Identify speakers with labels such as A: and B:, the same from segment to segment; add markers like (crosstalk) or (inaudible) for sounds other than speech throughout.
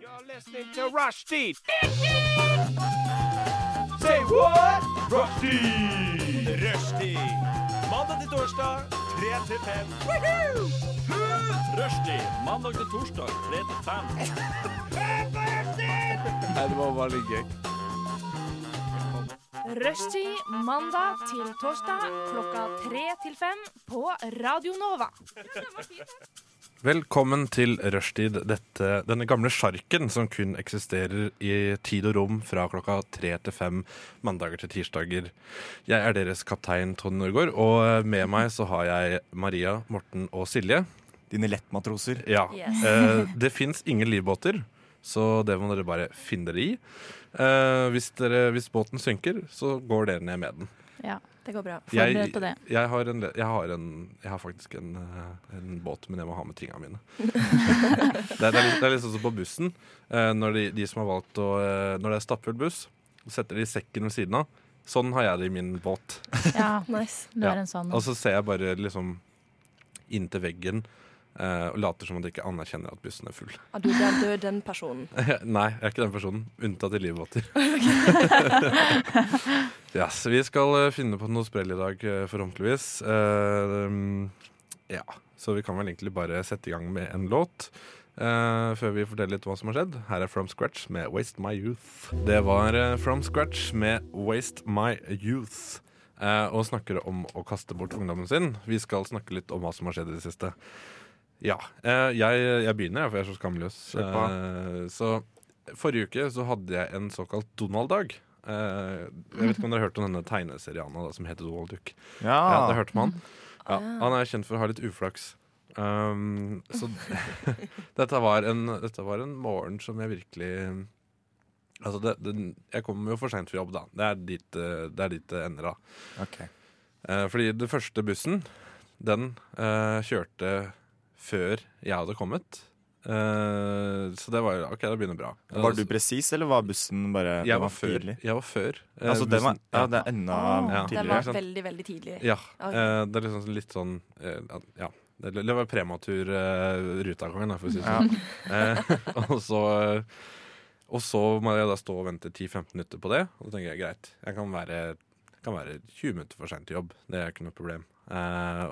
A: You're listening to Rushdie. Say what? Rushdie. Rushdie. Mandag til torsdag, 3 til 5. Rushdie. Mandag til torsdag, 3 til 5.
B: Rushtid mandag til torsdag klokka tre til fem på Radio Nova.
C: Velkommen til Rushtid, dette, denne gamle sjarken som kun eksisterer i tid og rom fra klokka tre til fem mandager til tirsdager. Jeg er deres kaptein Tone Norgård, og med meg så har jeg Maria, Morten og Silje.
D: Dine lettmatroser.
C: Ja,
B: Yes.
C: eh, Det fins ingen livbåter, så det må dere bare finne dere i. Eh, hvis, dere, hvis båten synker, så går dere ned med den.
E: Ja, det går bra.
C: Jeg,
E: Forbered på det.
C: jeg, har en, le- jeg, har en, jeg har faktisk en, eh, en båt, men jeg må ha med tinga
E: (laughs)
C: mine. det, er, det, er litt, det er litt sånn som på bussen. eh, Når, de, de som har valgt å, eh, når det er stappfull buss, så setter de sekken ved siden av. Sånn har jeg det i min båt.
E: (laughs) Ja,
F: Nice.
E: du
C: Ja. Altså,
E: er en sånn.
C: Og så ser jeg bare liksom inntil veggen eh, og later som at jeg ikke anerkjenner at bussen er full.
F: Ah, du der død, den personen.
C: (laughs) Nei, jeg er ikke den personen. Unntatt i livbåter. ja, så vi skal eh, finne på noe sprell i dag, eh, forhåpentligvis. Eh, mm, ja, så vi kan vel egentlig bare sette i gang med en låt. eh, før vi forteller litt hva som har skjedd. Her er From Scratch med Waste My Youth. Det var eh, From Scratch med Waste My Youth. eh, og snakker om å kaste bort ungdommen sin. Vi skal snakke litt om hva som har skjedd i det siste. Ja. eh, jeg, jeg begynner, jeg, for jeg er så skamløs.
D: Kjør
C: Eh, så forrige uke så hadde jeg en såkalt Donald-dag. Eh, jeg vet ikke om dere har hørt om denne tegneserien da, som heter Donald Duck. Ja,
D: Ah.
C: det hørte man. Ja, han er kjent for å ha litt uflaks. Um, så (laughs) dette var, en, dette var en morgen som jeg virkelig Altså, det, den- jeg kommer jo for seint for jobb, da. Det er dit eh, det, er dit det ender, da.
D: Ok.
C: Eh, fordi den første bussen, den eh, kjørte før jeg hadde kommet. Eh, så det var jo OK, det begynner bra. Altså,
D: Var du presis, eller var bussen bare den
C: Jeg var før.
D: tidlig?
C: Jeg var før eh,
D: Altså, den var,
C: bussen.
D: ja, det er enda
E: Ah.
F: Den
C: Tidligere,
F: var
D: tidligere.
C: sant?
F: veldig, veldig tidlig.
C: Ja.
F: Ok.
C: eh, det er liksom sånn- litt sånn eh, at- Ja. Det det var prematur uh, rutagangen, da, for å si det
D: Ja.
C: sånn. Eh, (laughs) og så eh, Og så må jeg da stå og vente 10-15 minutter på det. Og da tenker jeg greit, jeg kan være, kan være 20 minutter for seint til jobb. Det er ikke noe problem. Eh,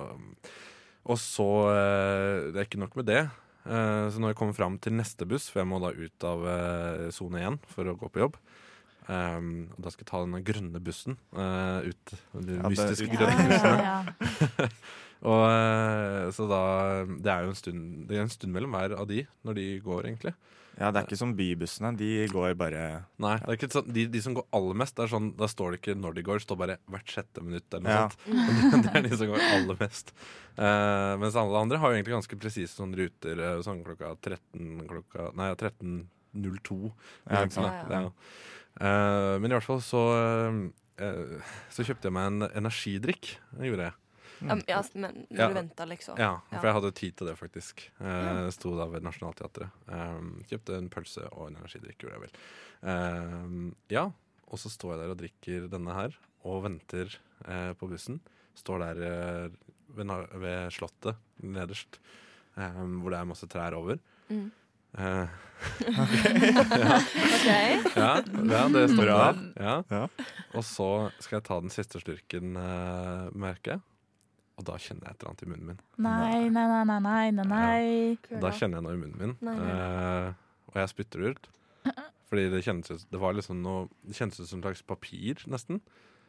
C: og så eh, Det er ikke nok med det. Eh, så når jeg kommer fram til neste buss, for jeg må da ut av eh, sone 1 for å gå på jobb eh, Og da skal jeg ta denne grønne bussen eh, ut. Den
D: Ja, det-
C: mystiske
D: ut-
C: grønne bussen.
E: ja, ja.
C: Og eh, så da Det er jo en stund, det er en stund mellom hver av de når de går, egentlig.
D: Ja, det er ikke som bybussene. De går bare
C: Nei, det er ikke sånn, de, de som går aller mest, det er sånn, da står det ikke når de går, det står bare hvert sjette minutt eller noe
D: Ja.
C: sånt. (laughs) Det, det er de som går aller mest. Eh, mens alle andre har jo egentlig ganske presise sånne ruter eh, sånn klokka 13 klokka, Nei, 13.02.
D: Ja, ikke sant.
F: sant?
C: liksom. Ja, ja. Eh, men i hvert fall så eh, eh, Så kjøpte jeg meg en energidrikk. Det gjorde jeg.
F: Ja, men- ja, men når
C: Ja.
F: du venta, liksom.
C: Ja, for jeg
F: Ja.
C: hadde tid til det, faktisk. Eh, sto da ved Nationaltheatret. Ehm, kjøpte en pølse og en energidrikk, gjorde jeg vel. Ehm, ja, og så står jeg der og drikker denne her, og venter eh, på bussen. Står der eh, ved, na- ved Slottet nederst, ehm, hvor det er masse trær over.
F: Mm.
C: Eh,
F: Ok.
C: ja, ja, det står
D: Bra.
C: der. Ja.
D: Ja.
C: Og så skal jeg ta den siste slurken, eh, merker jeg. Og da kjenner jeg et eller annet i munnen min.
E: Nei, nei, nei, nei, nei, nei, nei.
C: Da kjenner jeg noe i munnen min,
F: Nei, nei,
C: eh, og jeg spytter det ut. Fordi det kjennes ut, det var liksom noe, det kjennes ut som en slags papir, nesten.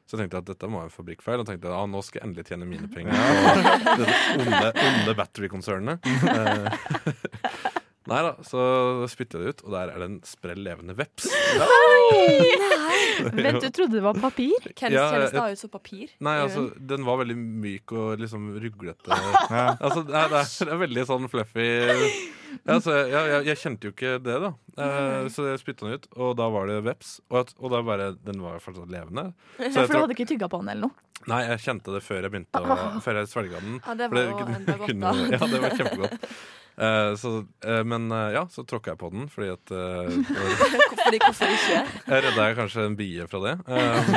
C: Så jeg tenkte jeg at dette må være en fabrikkfeil, og tenkte jeg ah, nå skal jeg endelig tjene mine penger på dette onde, onde battery-konsernet. Eh, (laughs) Nei da, så spytter jeg det ut, og der er det en sprell levende veps.
E: Vent, du trodde det var papir?
F: Kjennes,
C: Ja,
F: kjennes
C: jeg-
F: da ut som papir?
C: Nei,
F: Gjør
C: altså,
F: den?
C: den var veldig myk og liksom ruglete.
D: Ja.
C: Altså, det er, det er, det er veldig sånn fluffy ja, så jeg, jeg, jeg kjente jo ikke det, da. Eh, så jeg spytta den ut, og da var det veps. Og, at, og da bare, den var fortsatt sånn levende. Så
E: Ja,
C: jeg
E: for du
C: tror,
E: hadde ikke tygga på den eller noe?
C: nei,
F: (laughs)
C: jeg kjente det før jeg begynte å, før jeg svelga den.
F: Ja, det
C: For
F: var jo
C: kunne-
F: enda godt,
C: kunne-
F: da.
C: Ja, det var kjempegodt. Eh, så, eh, men eh, ja, så tråkka jeg på den, fordi at
F: (laughs)
C: eh,
F: (laughs) Fordi hvorfor ikke?
C: Jeg redda jeg kanskje en bie fra det. Eh,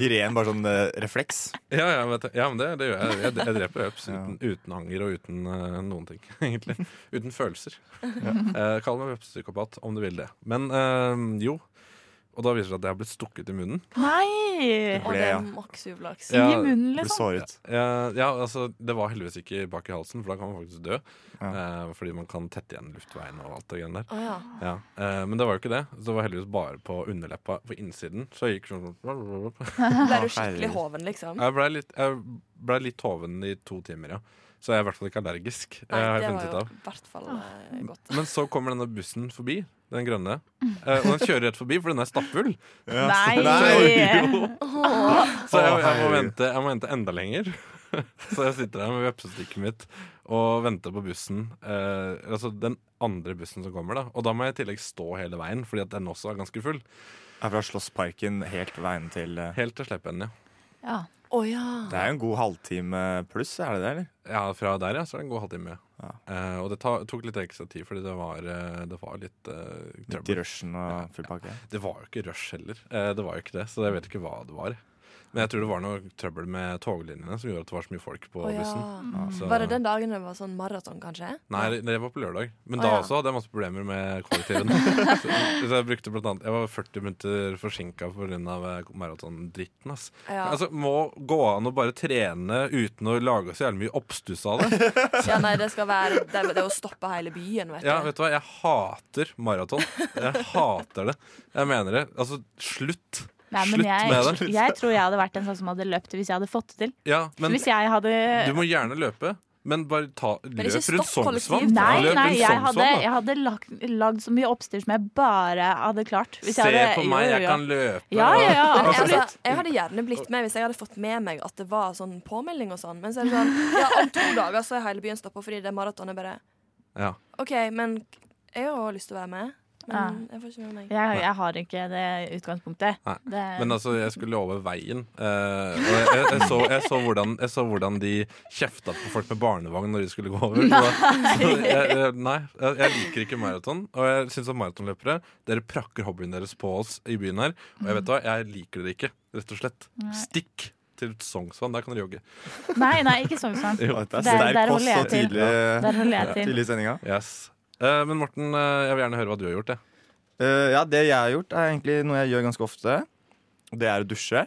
D: I ren bare sånn eh, refleks.
C: ja, ja, vet, du. ja, men det, det gjør jeg. Jeg, jeg dreper øps
D: Ja.
C: uten, uten anger og uten eh, noen ting, (laughs) egentlig. Uten følelser. Eh, kall meg vepsepsykopat om du vil det. Men eh, jo. Og da viser det seg at jeg har blitt stukket i munnen.
E: Nei!
F: Og
D: Ble,
F: det
D: ja.
F: er maks uflaks.
C: Ja.
E: I munnen,
D: Ble
E: liksom.
D: såret.
C: Eh, ja, altså, det var heldigvis ikke bak i halsen, for da kan man faktisk dø. Eh, fordi man kan tette igjen luftveiene og alt det greiene der.
F: Å ja.
C: Ja, eh, Men det var jo ikke det. Så det var heldigvis bare på underleppa på innsiden. Så jeg gikk sånn
F: Ble
D: Å,
F: du skikkelig
D: herregud.
F: hoven, liksom?
C: Jeg blei litt, jeg ble litt hoven i to timer, ja. Så jeg er i hvert fall ikke allergisk. eh,
F: Nei,
C: har jeg
F: det
C: funnet
F: var
C: ut
F: jo
C: av. Ah.
F: i hvert fall eh, godt.
C: Men så kommer denne bussen forbi, den grønne.
D: Mm.
C: eh, Og den kjører rett forbi, for den er stappfull.
E: Nei!
C: Så jeg, jeg, må
D: Å, herregud.
C: vente, jeg må vente enda lenger. (laughs) Så jeg sitter der med vepsestykket mitt og venter på bussen. Eh, altså den andre bussen som kommer, da. Og da må jeg i tillegg stå hele veien, fordi at den også er ganske full.
D: Er fra Slåssparken helt veien til eh,
C: Helt til jeg slipper den, ja.
E: Ja.
F: Å ja.
D: Det er jo en god halvtime pluss, er det det, eller?
C: Ja, fra der ja, så er det en god halvtime.
D: Ja.
C: Eh, og det ta, tok litt ekstra tid, fordi det var, eh, det var litt eh,
D: Midt i
C: trøbbel.
D: rushen og full pakke.
C: Det var jo ikke rush heller, Eh, det var jo ikke det, så jeg vet ikke hva det var. Men jeg tror det var noe trøbbel med toglinjene som gjorde at det var så mye folk på
F: Å, ja. Mm.
C: bussen. Så-
F: Var det den dagen det var sånn maraton, kanskje?
C: Nei, det var på lørdag. Men
F: Å,
C: da
F: ja.
C: også hadde jeg masse problemer med kollektiven.
F: (laughs)
C: så, (laughs) så jeg brukte blant annet Jeg var 40 minutter forsinka pga. maratondritten. eh, ass.
F: Ja.
C: Altså, må gå an å bare trene uten å lage så jævlig mye oppstuss av det.
F: ja, nei, det skal være Det, det er å stoppe hele byen, vet du.
C: Ja, vet du hva? Jeg hater maraton. Jeg hater det. Jeg mener det. Altså, slutt.
E: Nei, men
C: Slutt med
E: jeg,
C: det. liksom.
E: jeg tror jeg hadde vært en sånn som hadde løpt hvis jeg hadde fått det til.
C: Ja, men
E: hvis jeg hadde
C: du må gjerne løpe. Men bare ta
F: ikke
C: løp rundt
F: stopp kollektiv.
C: Sognsvann.
E: Nei,
C: Løp
E: nei,
C: rundt
E: jeg
C: Sognsvann,
E: hadde,
C: sånn da.
E: jeg hadde lagd, lagd så mye oppstyr som jeg bare hadde klart. Hvis
C: Se
E: jeg hadde,
C: på
E: jo,
C: meg,
E: jo,
C: jeg
E: jo.
C: kan løpe.
E: Ja, ja, ja,
F: Men jeg,
E: absolutt.
F: altså, jeg hadde gjerne blitt med hvis jeg hadde fått med meg at det var sånn påmelding og sånn. Men så er det sånn Ja, om to dager så er hele byen stoppa fordi det er maraton. Jeg bare
C: Ja.
F: OK, men jeg har jo lyst til å være med. Men jeg får ikke med meg.
E: Jeg, jeg har ikke det utgangspunktet.
C: Nei,
E: Det,
C: Men altså, jeg skulle over veien, eh, og jeg, jeg, jeg, så, jeg, så hvordan, jeg så hvordan de kjefta på folk med barnevogn når de skulle gå over. Nei, så jeg, jeg, nei, jeg jeg liker ikke maraton, og jeg syns at maratonløpere Dere prakker hobbyen deres på oss i byen her, og jeg vet hva, jeg liker dere ikke, rett og slett. Stikk til Sognsvann, der kan dere jogge.
E: nei, nei, ikke sånn Sognsvann.
C: Jo.
D: Å, Dette er
E: Der- der
D: sterk
E: holder
D: post
E: jeg
D: og
E: til.
D: tidlig,
E: Der holder jeg til.
D: tidlig i sendinga.
C: Yes. Eh, men Morten, eh, jeg vil gjerne høre hva du har gjort. jeg.
D: Eh, ja, det jeg har gjort, er egentlig noe jeg gjør ganske ofte. Det er å dusje.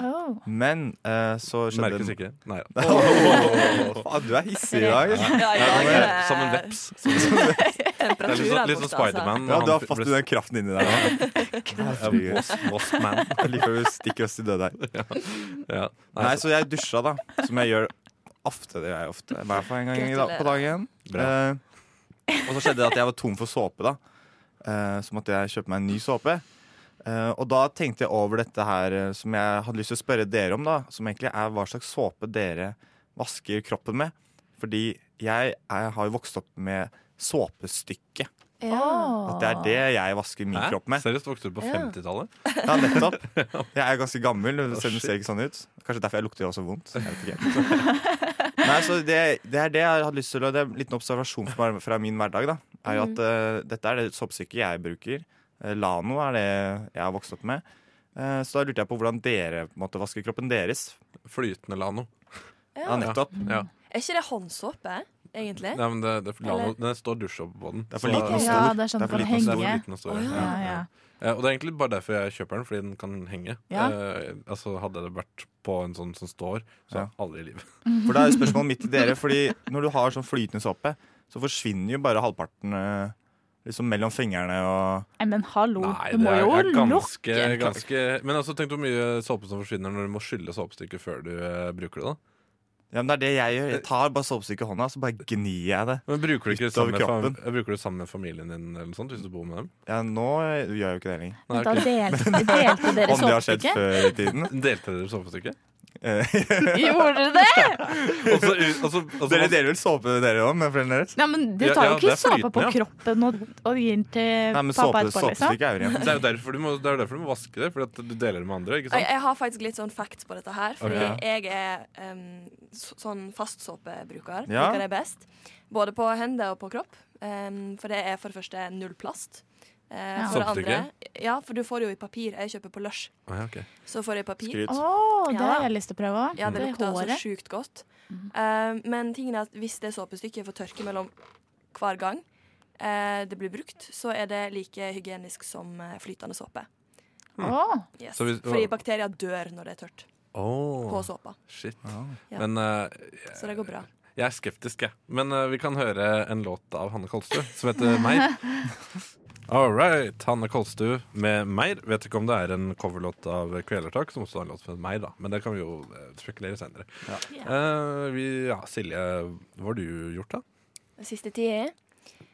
E: Oh.
D: Men eh, så skjedde
C: Merkes ikke. (laughs) Nei, ja.
D: Faen, du er hissig i dag.
F: Ja,
C: Nei, som en- Som en veps. Som en veps. Det er litt sånn, litt
F: altså.
C: sånn Spiderman.
D: Ja,
C: når
D: du har
C: han
D: fått
C: ble-
D: i den kraften inni der. nå.
C: (laughs) Ja, Wasp- Waspman.
D: Jeg liker å stikke oss til døde her.
C: Ja.
D: Nei,
C: altså,
D: så jeg dusja, da. Som jeg gjør ofte. Det gjør jeg ofte. I hvert fall en gang i dag, på dagen.
C: Bra.
D: Eh, og så skjedde det at jeg var tom for såpe, da. Eh, så måtte jeg kjøpe meg en ny såpe. Eh, og da tenkte jeg over dette her eh, som jeg hadde lyst til å spørre dere om, da. Som egentlig er hva slags såpe dere vasker kroppen med. Fordi jeg er, har jo vokst opp med såpestykke. At det er det jeg vasker min
C: Hæ?
D: kropp med.
C: Seriøst, vokste du på
F: Ja.
C: 50-tallet?
D: Ja, nettopp. Jeg er ganske gammel, selv om
C: shit.
D: det ser ikke sånn ut. Kanskje derfor jeg lukter også vondt. Jeg vet ikke. (laughs) Nei, så det, det er det jeg hadde lyst til å Det er en liten observasjon fra, fra min hverdag. da Er jo at eh, Dette er det soppstykket jeg bruker. Eh, Lano er det jeg har vokst opp med. Eh, så da lurte jeg på hvordan dere på en måte, vasker kroppen deres.
C: Flytende Lano.
D: Ja, nettopp.
E: Mm.
C: Ja.
F: Er ikke det håndsåpe, egentlig?
C: Nei, men det, det er for Lano den står dusjopp på den.
D: Det er for
C: Så-
D: liten og
E: Ok,
D: stor.
E: ja, det er sånn for å
D: liten
C: Så det er
D: og stor.
C: for
E: henge.
C: liten og stor.
F: Å,
C: ja.
E: Ja, ja.
C: Eh, Og det er egentlig bare derfor jeg kjøper den, fordi den kan henge.
E: Ja.
C: Eh, altså Hadde det vært på en sånn som står, så
D: Ja.
C: aldri i livet.
D: For da er jo spørsmålet mitt til (laughs) dere. Fordi når du har sånn flytende såpe, så forsvinner jo bare halvparten eh, liksom mellom fingrene og
E: Nei, men hallo,
C: Nei,
E: du
C: det
E: må
C: er,
E: jo
C: er ganske,
E: lukke.
C: ganske Men altså, tenk hvor mye såpe som forsvinner når du må skylle såpestykket før du eh, bruker det. da
D: Ja, men Det er det jeg gjør. Jeg tar bare såpestykket i hånda, så bare gnir jeg det.
C: Men Bruker du ikke det sammen
D: Utover
C: med, fam
D: kroppen.
C: bruker du det sammen med familien din eller noe sånt, hvis du bor med dem?
D: Ja, nå eh, gjør jeg jo ikke det lenger.
C: Nei,
E: Men Da
C: ok.
E: (laughs) delte, delte dere
D: Om det har skjedd
E: såpestykket.
D: før i tiden. (laughs) Eh,
C: Delte dere såpestykket?
E: (laughs) Gjorde dere det?
C: Og så ut- og så- og så-
D: Dere deler vel såpe, dere òg, med foreldrene deres?
E: Nei, men Du
C: Ja,
E: tar
C: ja,
E: jo ikke
C: det er
E: såpe på
C: flytende,
E: kroppen og, og gir den til
D: Nei, men
E: pappa
D: såpe,
E: etterpå, liksom.
D: såpestykke er jo
C: Det er jo derfor du må, det er jo derfor du må vaske det, fordi at du deler det med andre. ikke
F: Og Jeg,
C: sant?
F: jeg har faktisk litt sånn facts på dette her, fordi
D: Ok.
F: jeg er em, så, sånn fastsåpebruker.
D: Ja.
F: Bruker det best. Både på hender og på kropp. Em, for det er for det første null plast. Eh,
E: Ja.
F: For det andre
C: Såpestykke?
F: Ja, for du får det jo i papir. Jeg kjøper på Lush.
C: Å, ja, ok.
F: Så får jeg i papir.
D: Skryt.
E: Å, det
F: Ja.
E: har jeg lyst til å prøve òg.
F: Ja, det lukter altså
E: håret. Mhm.
F: sjukt godt. Eh, men tingen er at hvis det såpestykket får tørke mellom hver gang eh, det blir brukt, så er det like hygienisk som eh, flytende såpe.
E: Å,
F: Yes.
C: Så hvis-
F: Fordi bakterier dør når det er tørt på
C: Åh,
F: såpa.
C: shit.
F: Ja.
C: Men eh,
F: Så det går bra.
C: jeg er skeptisk, jeg. Men eh, vi kan høre en låt av Hanne Kolstø som heter Meir. All right. Hanne Kolstø med Meir. Vet ikke om det er en coverlåt av Kvelertak, som også har en låt med Meir, da. Men det kan vi jo eh, spekulere senere. Ja. vi, ja, Silje, hva har du gjort, da?
F: Siste tida?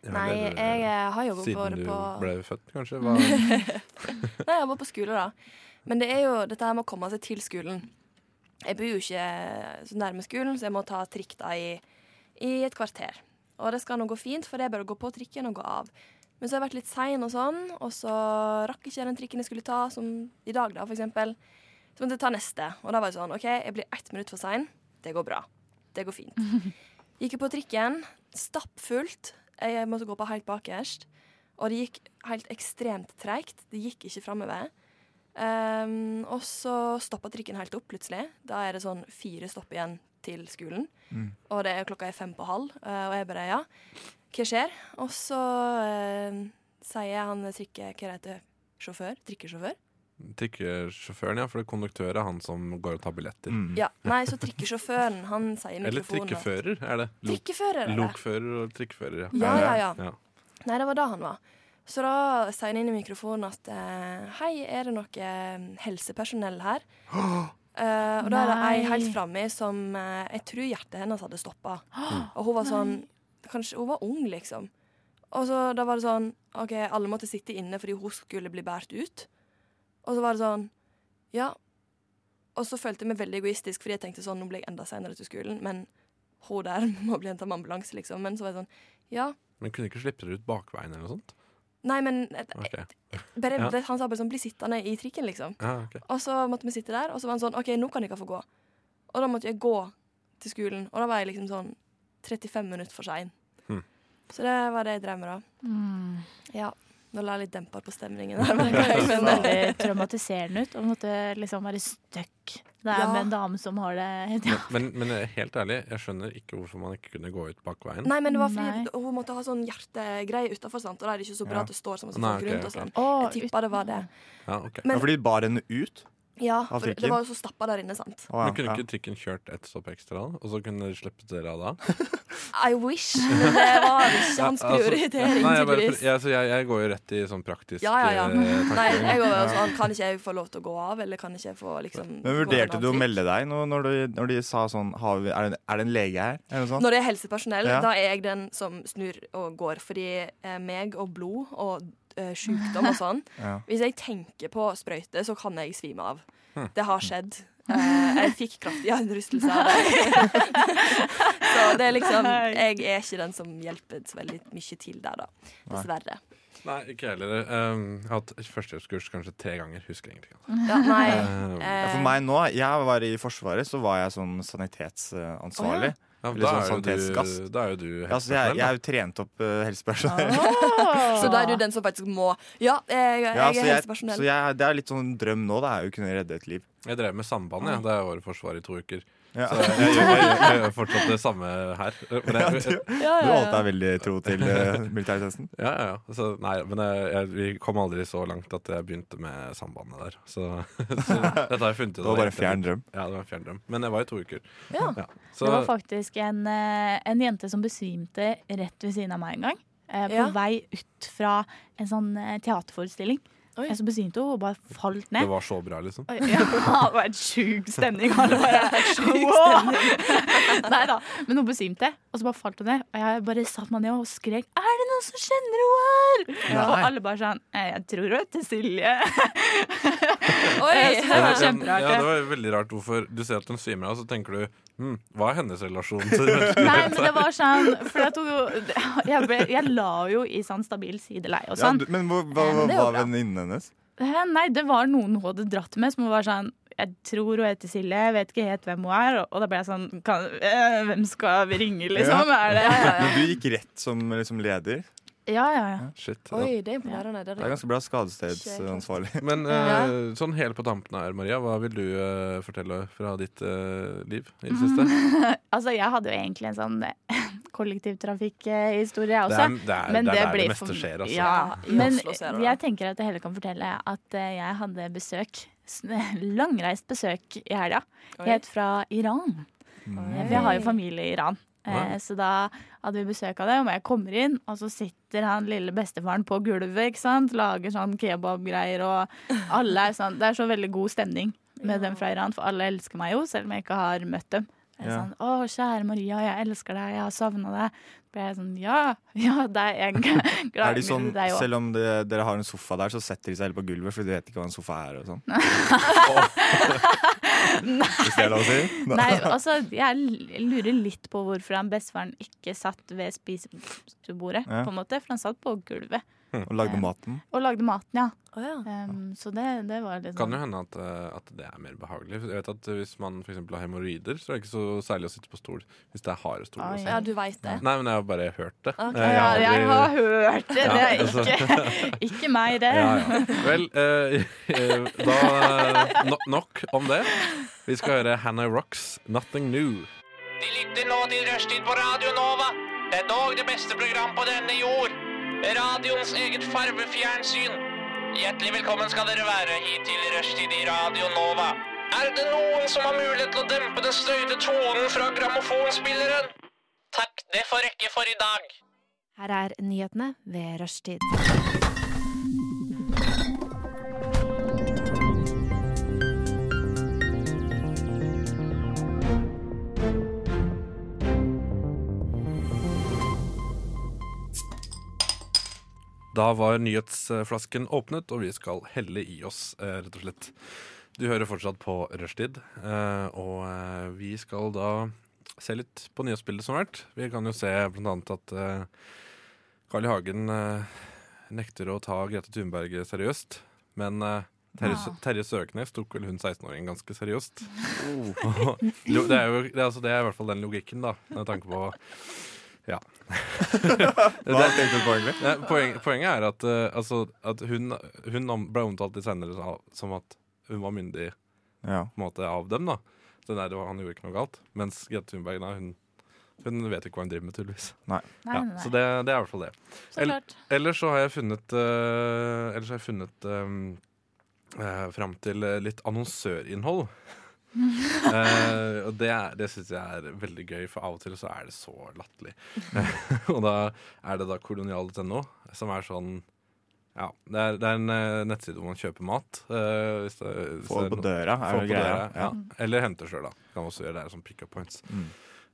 C: Ja,
F: Nei,
C: eller,
F: jeg eh, har jobbet
C: Siden
F: både
C: du
F: på
C: ble født, kanskje? Hva,
F: (laughs) Nei, jeg var på skole, da. Men det er jo dette her med å komme seg til skolen. Jeg bor jo ikke så nærme skolen, så jeg må ta trikk da i, i et kvarter. Og det skal nå gå fint, for det er bare å gå på trikken og gå av. Men så har jeg vært litt sein og sånn, og så rakk ikke jeg den trikken jeg skulle ta, som i dag, da, for eksempel. Så måtte jeg ta neste. Og da var jeg sånn, OK, jeg blir ett minutt for sein. Det går bra. Det går fint. Gikk jeg på trikken, stappfullt. Jeg måtte gå på helt bakerst. Og det gikk helt ekstremt treigt. Det gikk ikke framover. Um, og så stoppa trikken helt opp plutselig. Da er det sånn fire stopp igjen til skolen.
C: Mm.
F: Og det er klokka er fem på halv, eh, og jeg bare ja, hva skjer? Og så eh, sier jeg han trikke, hva heter det, sjåfør? Trikkesjåfør?
C: Trikkesjåføren, ja. For det konduktør er han som går og tar billetter.
D: Mm.
F: Ja. Nei, så trikkesjåføren, han sier i
C: Mm. Eller
F: mikrofonen. at-
C: trikkefører, er det. Lok
F: Trikkefører, er det.
C: lokfører og trikkefører, ja.
F: Ja, ja, ja.
C: Ja.
F: Nei, det var da han var. Så da sier han inn i mikrofonen at eh, Hei, er det noe eh, helsepersonell her? Eh, og da er det ei
E: Nei.
F: helt framme som eh, Jeg tror hjertet hennes hadde stoppa. Og hun var sånn Kanskje hun var ung, liksom. Og så da var det sånn OK, alle måtte sitte inne fordi hun skulle bli båret ut. Og så var det sånn Ja. Og så følte jeg meg veldig egoistisk, fordi jeg tenkte sånn Nå blir jeg enda seinere til skolen, men hun der (laughs) må bli henta med ambulanse, liksom. Men så var jeg sånn Ja.
C: Men kunne ikke slippe dere ut bakveien eller noe sånt?
F: Nei, men eh,
C: Ok.
F: bare,
C: Ja.
F: det, Han sa bare sånn 'bli sittende i trikken', liksom.
C: Ja, ok.
F: Og så måtte vi sitte der, og så var han sånn 'OK, nå kan dere få gå'. Og da måtte jeg gå til skolen, og da var jeg liksom sånn 35 minutter for sein.
C: Hmm.
F: Så det var det jeg drev med da.
D: (laughs)
F: Ja. Nå la jeg litt demper på
C: (laughs)
F: stemningen her. merker
E: Mm. Det
F: jeg,
E: høres
F: men, eh,
E: veldig traumatiserende ut å måtte liksom være stuck der
F: Ja.
E: med en dame som har det ja.
C: Men, men eh, helt ærlig, jeg skjønner ikke hvorfor man ikke kunne gå ut bakveien.
F: nei, men det var fordi
E: Nei.
F: hun måtte ha sånn hjertegreie utafor, sant, og da er det ikke så bra
D: Ja.
F: at det står så masse
C: Nei,
F: folk
C: ok,
F: rundt og
C: ok.
F: sånn.
E: Å,
F: Jeg tippa det var det.
C: Ja, ok.
F: Men-
D: Ja, fordi de bar henne ut?
F: Ja, for det
D: trikken?
F: var jo så stappa der inne, sant.
D: Å,
C: Men kunne
D: ja.
C: ikke trikken kjørt ett stopp ekstra, da? og så kunne dere sluppet dere av
F: (laughs)
C: da?
F: I wish, men (laughs) det var ikke hans
C: Ja, altså-
F: prioritering,
C: Nei, jeg, bare,
F: tydeligvis.
C: ja, så jeg, jeg går jo rett i sånn praktisk
F: Ja, ja, ja.
C: eh,
F: Nei,
C: tankegang.
F: jeg var jo sånn, Kan ikke jeg få lov til å gå av, eller kan ikke jeg få liksom
D: Men
F: gå en
D: Vurderte
F: annen
D: du å
F: trikk?
D: melde deg nå når de, når de sa sånn har vi, er, det, er det en lege her? Eller noe sånt?
F: Når det er helsepersonell,
D: Ja.
F: da er jeg den som snur og går. Fordi eh, meg og blod og eh, sykdom og sånn
D: (laughs) Ja.
F: Hvis jeg tenker på sprøyte, så kan jeg svime av.
D: Hm.
F: Det har skjedd. Eh, jeg fikk kraftige hjernerystelser av det. (laughs) så det er liksom Jeg er ikke den som hjelper så veldig mye til der, da. Dessverre.
C: Nei, ikke heller. Um, jeg har hatt førstehjelpskurs kanskje tre ganger. Husker jeg ingenting. altså.
F: Ja,
D: (laughs)
F: nei.
C: Um, ja,
D: For meg nå, jeg var i Forsvaret, så var jeg sånn sanitetsansvarlig. Eller
C: da,
D: sånn
C: er jo du,
D: sanitetsgass.
C: da er jo du
D: Ja, så jeg, jeg er jo trent opp eh, helsepersonell.
F: eh, Så da er du den som faktisk må Ja, jeg, jeg
D: Ja, så
F: er
D: jeg,
F: helsepersonell.
D: så jeg, det er litt sånn drøm nå, det er jo å kunne redde et liv.
C: Jeg drev med samband jeg, da jeg var i Forsvaret i to uker.
D: Ja. (laughs)
C: Så jeg, jeg, jeg, jeg, gjør fortsatt det samme her. Men jeg, ja,
D: Du holdt deg veldig tro til uh, militærtjenesten.
C: ja, ja. Så, nei, men jeg, jeg, vi kom aldri så langt at jeg begynte med sambandet der. Så, (laughs) så dette har jeg funnet ut.
D: (laughs) Det var
C: av
D: bare
C: etter-
D: fjern drøm.
C: Ja, det var en fjern drøm. Men jeg var i to uker.
F: Ja.
C: Så
E: Det var faktisk en, eh, en jente som besvimte rett ved siden av meg en gang. eh, På
F: Ja.
E: vei ut fra en sånn eh, teaterforestilling.
F: Oi.
E: Eh, Så besvimte hun og bare falt
C: det
E: ned.
C: var så bra, liksom.
E: Oi, Ja, det (laughs) var en sjuk stemning. og det var- Wow! Nei da, men hun besvimte. Og og så bare falt hun ned. Og jeg bare satte meg ned og skrek 'Er det noen som kjenner henne her?'
D: Nei.
E: Og alle bare sånn «Eh, 'Jeg tror hun heter Silje'.
F: Oi!
E: Så (laughs) det var
C: Ja, det
E: kjemperart.
C: var veldig rart hvorfor du ser at hun svimer av, så tenker du hm, hva er hennes relasjon til
E: (laughs)
C: mennesket?
E: Nei, men det var sånn Fordi at hun Jeg, ble, jeg la jo i sånn stabil sideleie og
D: Ja,
E: sånn.
D: du, men hva, hva,
E: Ja,
D: hva
E: men det er jo
D: var
E: bra.
D: venninnen hennes?
E: Eh, Nei, det var noen hun hadde dratt med som hun var sånn Jeg tror hun heter Silje, jeg vet ikke helt hvem hun er. Og, og da ble jeg sånn kan, eh, Hvem skal vi ringe, liksom? Er det
F: Ja, ja,
D: Men
F: ja.
D: du gikk rett som liksom, leder.
E: Ja, ja, ja.
C: Shit. ja.
F: Oi, det er imponerende. Det
D: Det er
F: er det.
D: ganske bra skadestedsansvarlig.
C: Men
F: Ja.
C: eh, sånn helt på tampen her, Maria, hva vil du eh, fortelle fra ditt eh, liv i det
E: Mm,
C: siste?
E: Altså, jeg hadde jo egentlig en sånn eh, (laughs) kollektivtrafikkhistorie, jeg
C: Det
E: også.
C: er, det er,
E: altså, Men
C: det er der
E: blir
C: det meste
E: for-
C: skjer, altså.
E: Ja,
F: Ja, i
E: men
F: Oslo ser du
E: jeg tenker at jeg heller kan fortelle at eh, jeg hadde besøk, s- (laughs) langreist besøk i helga,
F: Oi. Mm.
E: helt fra Iran. Eh, Vi har jo familie i Iran. eh,
C: Ja.
E: Så da hadde vi besøk av dem, og jeg kommer inn, og så sitter han lille bestefaren på gulvet, ikke sant? lager sånn kebabgreier, og alle er sånn Det er så veldig god stemning med dem fra Iran, for alle elsker meg jo, selv om jeg ikke har møtt dem. Det er
D: Ja.
E: Sånn, 'Å, kjære Maria, jeg elsker deg, jeg har savna deg.' Da blir jeg sånn Ja, ja, det er jeg
D: (laughs)
E: glad
D: Er de sånn,
E: deg også.
D: selv om det, dere har en sofa der, så setter de seg heller på gulvet, for de vet ikke hva en sofa er. og sånn Hvis det er lov å si?
E: Nei, altså, jeg l- lurer litt på hvorfor han bestefaren ikke satt ved spisebordet,
D: Ja.
E: på en måte, for han satt på gulvet
D: Og lagde maten.
E: og lagde maten, ja.
F: Å, ja.
E: Um, så det, det var litt
C: Kan jo
E: sånn
C: hende at, eh, at det er mer behagelig. Jeg vet at Hvis man for eksempel har hemoroider, så er det ikke så særlig å sitte på stol hvis det er harde stoler. å
E: Oi.
C: se.
F: ja, du veit det.
C: Nei, men jeg har bare hørt det.
F: Ok.
C: Eh,
E: ja,
C: har
E: jeg
C: aldri-
E: har hørt det. Det
C: Ja,
E: er
C: altså.
E: ikke, ikke meg, det.
C: Ja, ja. Vel, eh, (laughs) eh, da eh, no Nok om det. Vi skal høre Hannah Rocks 'Nothing New'.
G: De lytter nå til Rushtid på Radio Nova. Det er dog det beste program på denne jord. Radioens eget farvefjernsyn. Hjertelig velkommen skal dere være hit til Rushtid i Radio Nova. Er det noen som har mulighet til å dempe den støyte tonen fra grammofonspilleren? Takk, det får rekke for i dag.
H: Her er nyhetene ved rushtid.
C: Da var nyhetsflasken åpnet, og vi skal helle i oss, eh, rett og slett. Du hører fortsatt på Rushtid, eh, og eh, vi skal da se litt på nyhetsbildet som har vært. Vi kan jo se blant annet at eh, Carl I. Hagen eh, nekter å ta Grete Thunberg seriøst, men eh, Terje, Sø- Terje Søknes tok vel hun 16-åringen ganske seriøst. (laughs) Lo- det, er (laughs) jo, det, er, altså, det er i hvert fall den logikken, da, med tanke på Ja.
D: Hva tenkte du på egentlig?
C: Nei, poeng, poenget er at, eh, altså, at hun, hun om- ble omtalt litt senere av- som at hun var myndig
D: Ja.
C: på en måte, av dem. da så nei, det var, Han gjorde ikke noe galt. Mens Grete Thunberg nei, hun, hun vet ikke hva hun driver med, tydeligvis.
E: Nei,
C: Ja,
E: nei, nei.
C: så det, det er i hvert fall det.
E: så klart.
C: Ellers så har jeg funnet eh, Ellers har jeg funnet eh, eh, fram til eh, litt annonsørinnhold. Eh, og det, er- det syns jeg er veldig gøy, for av og til så er det så latterlig. (laughs) og da er det da kolonial.no, som er sånn Ja, det er, det er en eh, nettside hvor man kjøper mat. eh, hvis det, hvis
D: Få
C: det er
D: det
C: no-
D: på døra,
C: få
D: er det
C: på
D: greia.
C: døra,
D: Ja.
C: ja. Eller hente sjøl, da. Kan også gjøre det her som pick up points.
D: Mm.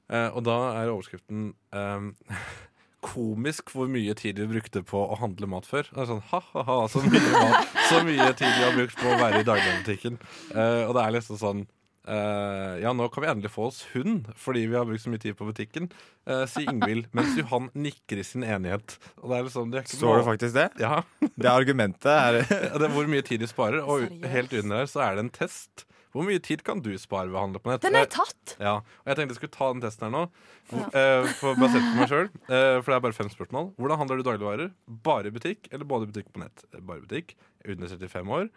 C: Eh, og da er overskriften ehm, (laughs) Komisk hvor mye tid vi brukte på å handle mat før. Det er sånn, ha-ha-ha, så, mye mat- så mye tid vi har brukt på å være i dagligvarebutikken. Eh, og det er liksom sånn eh, Ja, nå kan vi endelig få oss hund, fordi vi har brukt så mye tid på butikken, eh, sier Ingvild, mens Johan nikker i sin enighet. Og det er liksom, det er ikke
D: Står det
C: noe-
D: faktisk det?
C: Ja.
D: Det argumentet er
C: Ja, (laughs) Det er hvor mye tid de sparer, og
F: Seriøst?
C: helt under her så er det en test. Hvor mye tid kan du spare ved å handle på nett?
F: Den
C: Eh,
F: er tatt!
C: ja, og jeg tenkte jeg skulle ta den testen her nå,
F: Ja.
C: eh, for, basert på meg sjøl. for det er bare fem spørsmål. Hvordan handler du dagligvarer? Bare i butikk, eller både i butikk og på nett? Eh, Bare i butikk. Under 35 år.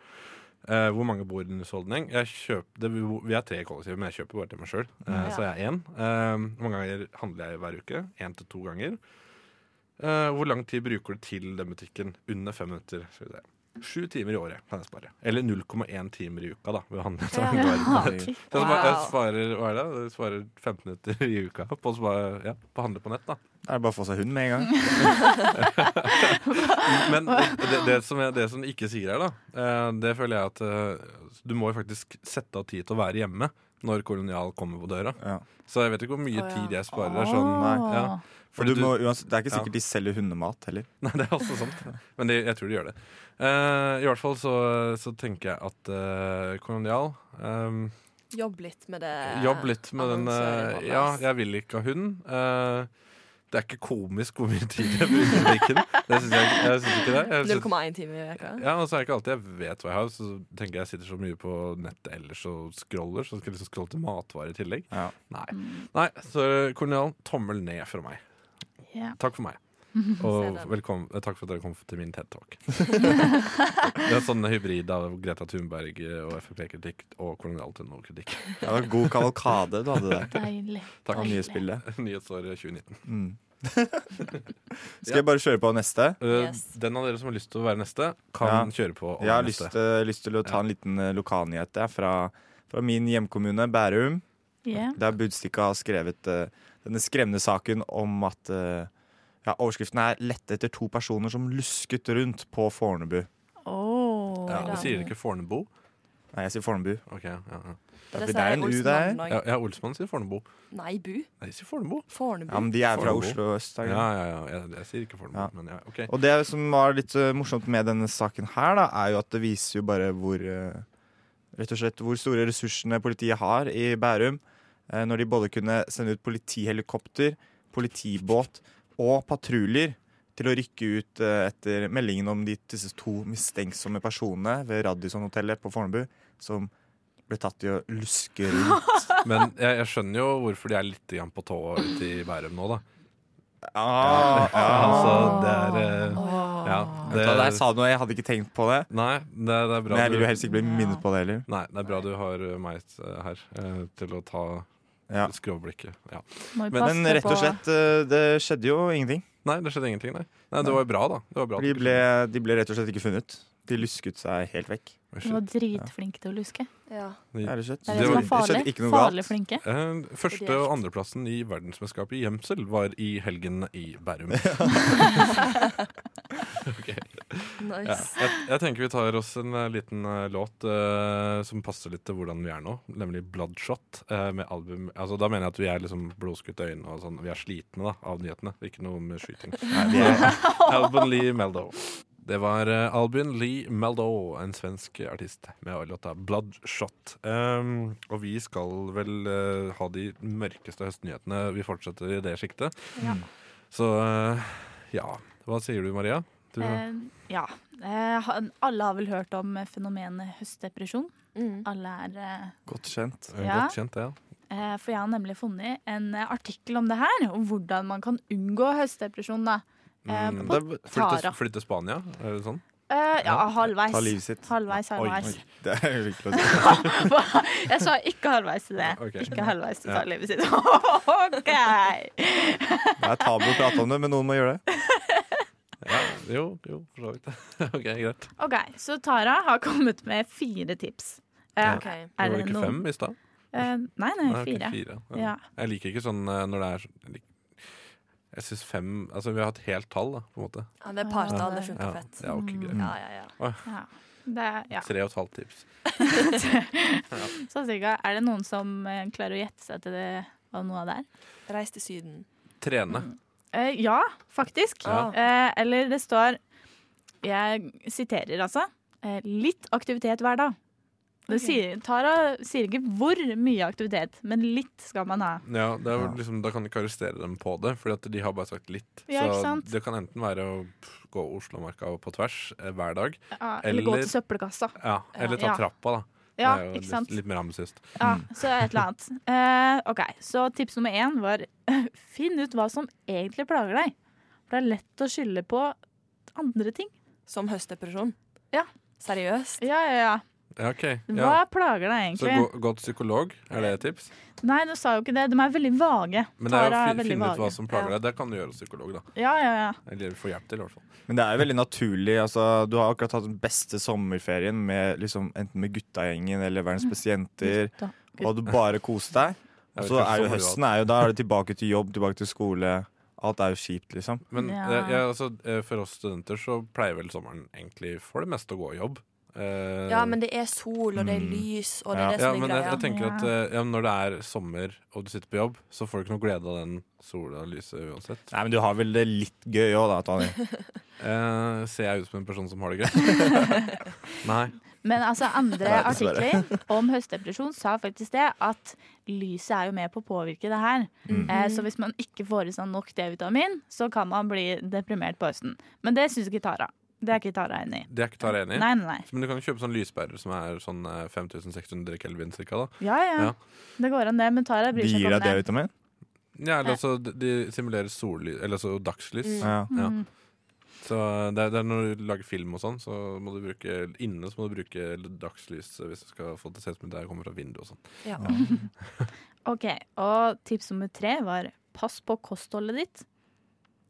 C: Eh, hvor mange bor i en husholdning? Jeg kjøper, det, vi er tre i kollektivet, men jeg kjøper bare til meg sjøl. Så jeg er én. Eh, hvor mange ganger handler jeg hver uke? Én til to ganger. Eh, hvor lang tid bruker du til den butikken? Under fem minutter. Skal vi se. Sju timer i året kan jeg spare. Eller 0,1 timer i uka, da. Ved å handle dagligvarer på nett. Så
D: Herregud.
C: jeg, spa- jeg
F: Wow.
C: sparer, hva er det? Jeg sparer 15 minutter i uka på å spa- ja, på å handle på nett. da
D: Det er bare å få seg hund med en gang.
C: Men det, det, som jeg, det som de ikke sier her, da eh, det føler jeg at eh, du må jo faktisk sette av tid til å være hjemme. når kolonial kommer på døra.
D: Ja.
C: Så jeg vet ikke hvor mye
F: Å, ja.
C: tid jeg sparer der. Sånn,
D: Nei,
C: ja.
D: For du
C: Fordi
D: må, uansett, det er ikke
C: Ja.
D: sikkert de selger hundemat heller.
C: (laughs) Nei, det er også sant. Men det, jeg tror de gjør det. Eh, I hvert fall så, så tenker jeg at eh, kolonial eh,
F: Jobb litt med det.
C: Jobb litt med den eh,
F: annonsøren vår.
C: Ja, jeg vil ikke ha hund. Eh, det er ikke komisk hvor mye tid jeg bruker på butikken. Det syns jeg, jeg synes ikke det. Jeg synes,
F: 0,1 time i veka.
C: ja, og så er det ikke alltid jeg vet hva jeg har. Så tenker jeg jeg sitter så mye på nettet ellers og scroller, så skal jeg liksom scrolle til matvarer i tillegg.
D: Ja.
C: Nei. Nei, så kolonial, tommel ned fra meg.
E: Ja.
C: Takk for meg.
F: Ser
C: Og
F: den.
C: velkommen, eh, takk for at dere kom til min TED Talk. det er sånn hybrid av Greta Thunberg eh, og Frp-kritikk og kolonial til kritikk (laughs)
D: Det var god kavalkade du hadde der.
E: Deilig.
D: Av nye spillet.
C: Nyhetsåret 2019.
D: Mm.
C: (laughs)
D: Skal jeg bare kjøre på neste?
C: Eh,
F: Yes.
C: Den av dere som har lyst til å være neste, kan kjøre på. om
D: Jeg har lyst,
C: neste.
D: eh, lyst til å ta en liten eh, lokalnyhet jeg, fra, fra min hjemkommune, Bærum.
E: Ja.
D: Der Budstikka har skrevet eh, denne skremmende saken om at eh, ja, Overskriften er 'Lette etter to personer som lusket rundt på Fornebu'.
E: Åh.
C: Ja, det sier ikke Fornebu.
D: Nei, jeg sier Fornebu.
C: Ok, ja, ja.
D: Ja, for det er en U der.
C: Ja, ja, Olsmann sier Fornebu.
F: Nei, Bu.
C: Nei, jeg sier Fornebu.
F: Fornebu.
D: Ja, men de er fra
C: Fornebu.
D: Oslo øst. er
C: Ja,
D: de?
C: ja, ja. Jeg, jeg sier ikke Fornebu,
D: Ja.
C: men ja, ok.
D: Og det som var litt eh, morsomt med denne saken her, da, er jo at det viser jo bare hvor eh, Rett og slett hvor store ressursene politiet har i Bærum. eh, Når de både kunne sende ut politihelikopter, politibåt og patruljer til å rykke ut eh, etter meldingen om de disse to mistenksomme personene ved Radisson-hotellet på Fornebu, som ble tatt i å luske rundt.
C: Men jeg, jeg skjønner jo hvorfor de er litt grann på tå ute i Bærum nå, da.
D: Ah,
C: Ja, altså, det er eh,
F: Åh.
C: Ja,
D: Det, der sa du noe, jeg hadde ikke tenkt på det.
C: Nei, det, det er bra
D: Men jeg vil jo
C: du
D: helst ikke bli minnet på det heller.
C: Nei, det er bra du har eh, meg eh, her eh, til å ta
D: Ja.
C: skråblikket. Ja.
E: Må vi
C: Men-
E: passe
D: Men rett og
E: på-
D: slett, eh, det skjedde jo ingenting.
C: Nei, det skjedde ingenting, nei. Nei, det var jo bra, da. Det var bra at
D: De
C: det
D: ble,
C: skjedde.
D: de ble rett og slett ikke funnet. De lusket seg helt vekk.
C: Oi,
E: Du var
C: shit.
E: dritflink til å luske.
F: Ja.
D: Ja, rett og slett.
E: Det
C: Det
E: er det som
C: var-
E: er
D: det skjedde
E: farlig.
D: ikke noe
E: Farlig
D: galt.
E: flinke.
C: Eh, Første- og andreplassen i verdensmesterskapet i gjemsel var i helgen i Bærum. Ok. Ja.
F: Nice.
C: Jeg, jeg tenker vi tar oss en eh, liten eh, låt eh, som passer litt til hvordan vi er nå, nemlig 'Bloodshot'. eh, med album, altså Da mener jeg at vi er liksom blodskutt i øynene og sånn. Vi er slitne da, av nyhetene, ikke noe med skyting.
E: (laughs)
C: (laughs) Albin Lee Meldo. Det var eh, Albin Lee Meldo, en svensk artist, med låta 'Bloodshot'. Um, og vi skal vel eh, ha de mørkeste høstnyhetene. Vi fortsetter i det sjiktet. Så eh, ja. Hva sier du, Maria? Du,
E: Eh, ja. Eh, han- alle har vel hørt om eh, fenomenet høstdepresjon.
F: Mm.
E: Alle er eh,
D: Godt kjent.
C: er
E: ja.
C: Godt kjent, det. Ja.
E: eh, For jeg har nemlig funnet en eh, artikkel om det her, om hvordan man kan unngå høstdepresjon. da. Eh,
C: Mm,
E: på
C: det er flytte,
E: Tara.
C: flytte Spania, er det sånn?
E: Eh, ja, halvveis.
D: Ta livet sitt.
E: Halvveis,
C: Oi,
E: halvveis.
C: oi.
D: Det er jo ikke lov til.
E: (laughs) Jeg sa ikke halvveis til det.
C: Ok.
E: Ikke halvveis til å
C: Ja.
E: ta livet sitt. (laughs) OK!
D: Det er tabu å prate om det, men noen må gjøre det.
C: Ja, jo, jo, for så vidt. (laughs) ok, greit.
E: Ok, Så Tara har kommet med fire tips. Eh,
C: Ja.
F: OK.
E: er
C: Det var
E: det
C: ikke
E: noen-
C: fem i stad?
E: Eh, nei, nei,
C: Nei, ok,
E: (laughs) fire.
C: Ja.
E: Ja.
C: Jeg liker ikke sånn eh, når det er sånn jeg lik- Jeg syns fem Altså, vi har et helt tall, da, på en måte.
F: Ja, det er partall. Det funker
C: Ja,
F: fett.
C: ja ok, greit.
F: Ja, ja, ja.
E: Ja. Det, Mm, ja.
C: Tre og et halvt tips.
E: Så cirka, er det noen som eh, klarer å gjette seg til det, hva noe av det er?
F: Reis til Syden.
C: Trene.
E: Eh, ja, faktisk.
C: Ja.
E: Eh, eller det står Jeg siterer, altså. Eh, litt aktivitet hver dag. Det
F: Ok.
E: sier, Tara sier ikke hvor mye aktivitet, men litt skal man ha.
C: Ja, det er jo
D: Ja.
C: liksom, Da kan du ikke arrestere dem på det, Fordi at de har bare sagt litt.
E: Ja, ikke
C: Så
E: sant?
C: det kan enten være å pff, gå Oslomarka på tvers eh, hver dag,
E: Ja, eller, gå
C: Eller-
E: til søppelkassa.
C: ja, eller ta
E: Eh, Ja.
C: trappa, da.
E: Ja,
C: det er jo
E: ikke sant?
C: litt, litt mer ambisiøst.
E: Ja, så et eller annet.
C: (laughs)
E: Eh, ok, Så tips nummer én var (laughs) finn ut hva som egentlig plager deg. For det er lett å skylde på andre ting.
F: Som høstdepresjon.
E: Ja.
F: Seriøst.
E: Ja, ja, ja.
C: Ja, OK. Ja.
E: Hva plager deg
C: Så
E: egentlig?
C: gå, gå til psykolog, er det et tips?
E: Nei, du sa jo ikke det. De er veldig vage.
C: Men det er
E: Tara
C: å
E: er
C: fi-
E: veldig
C: finne ut hva
E: vage.
C: som plager deg. Det kan du gjøre hos psykolog. da
E: Ja, ja, ja.
C: Eller få hjelp til, i hvert fall.
D: Men det er jo veldig naturlig. Altså, du har akkurat hatt den beste sommerferien med, liksom, enten med guttagjengen eller Verdens beste jenter,
E: Gutta.
D: og du bare koste deg. Og
C: Jeg
D: så
C: vet ikke
D: er jo
C: så mye
D: høsten er jo, Da er det tilbake til jobb, tilbake til skole. Alt er jo kjipt, liksom.
C: Men
E: Ja.
C: eh, jeg, altså, eh, for oss studenter så pleier vel sommeren egentlig for det meste å gå i jobb. Eh, Eh,
F: Ja, men det er sol, og det er
D: Mm.
F: lys, og det er
D: Ja.
F: det
C: ja,
F: som
C: men
F: er
C: jeg,
F: greia.
C: jeg tenker at eh, ja, Når det er sommer og du sitter på jobb, så får du ikke noe glede av den sola og lyset uansett.
D: Nei, men du har vel det litt gøy òg, da,
E: (laughs)
D: Tony.
C: Eh, ser jeg ut som en person som har
F: (laughs)
C: det gøy? Nei.
E: Men altså,
C: (laughs)
E: andre
D: Nei, dessverre.
E: artikler om høstdepresjon sa faktisk det at lyset er jo med på å påvirke det her.
D: Mm.
E: Eh, så hvis man ikke får i seg nok D-vitamin, så kan man bli deprimert på høsten. Men det syns ikke Tara. Det er ikke Tara enig i.
C: Det er ikke Tara enig i.
E: Nei, nei, nei.
C: Men du kan kjøpe sånn lyspærer som er sånn eh, 5600 kelvin cirka. da
E: Ja, ja.
C: Ja.
E: Det går an, det. Men Tara
D: De
E: bryr seg
D: gir deg
E: ikke om det.
D: D-vitamin?
C: Ja, eller altså, de- De simulerer sollys, eller altså dagslys.
F: Mm.
D: Ja.
C: Ja.
E: Mm.
C: Så det er, det er Når du lager film og sånn, så må du bruke inne så må du bruke dagslys hvis du skal få det til å se ut som det her kommer fra vinduet. og sånn
F: Ja.
E: (laughs) OK. Og tips nummer tre var pass på kostholdet ditt.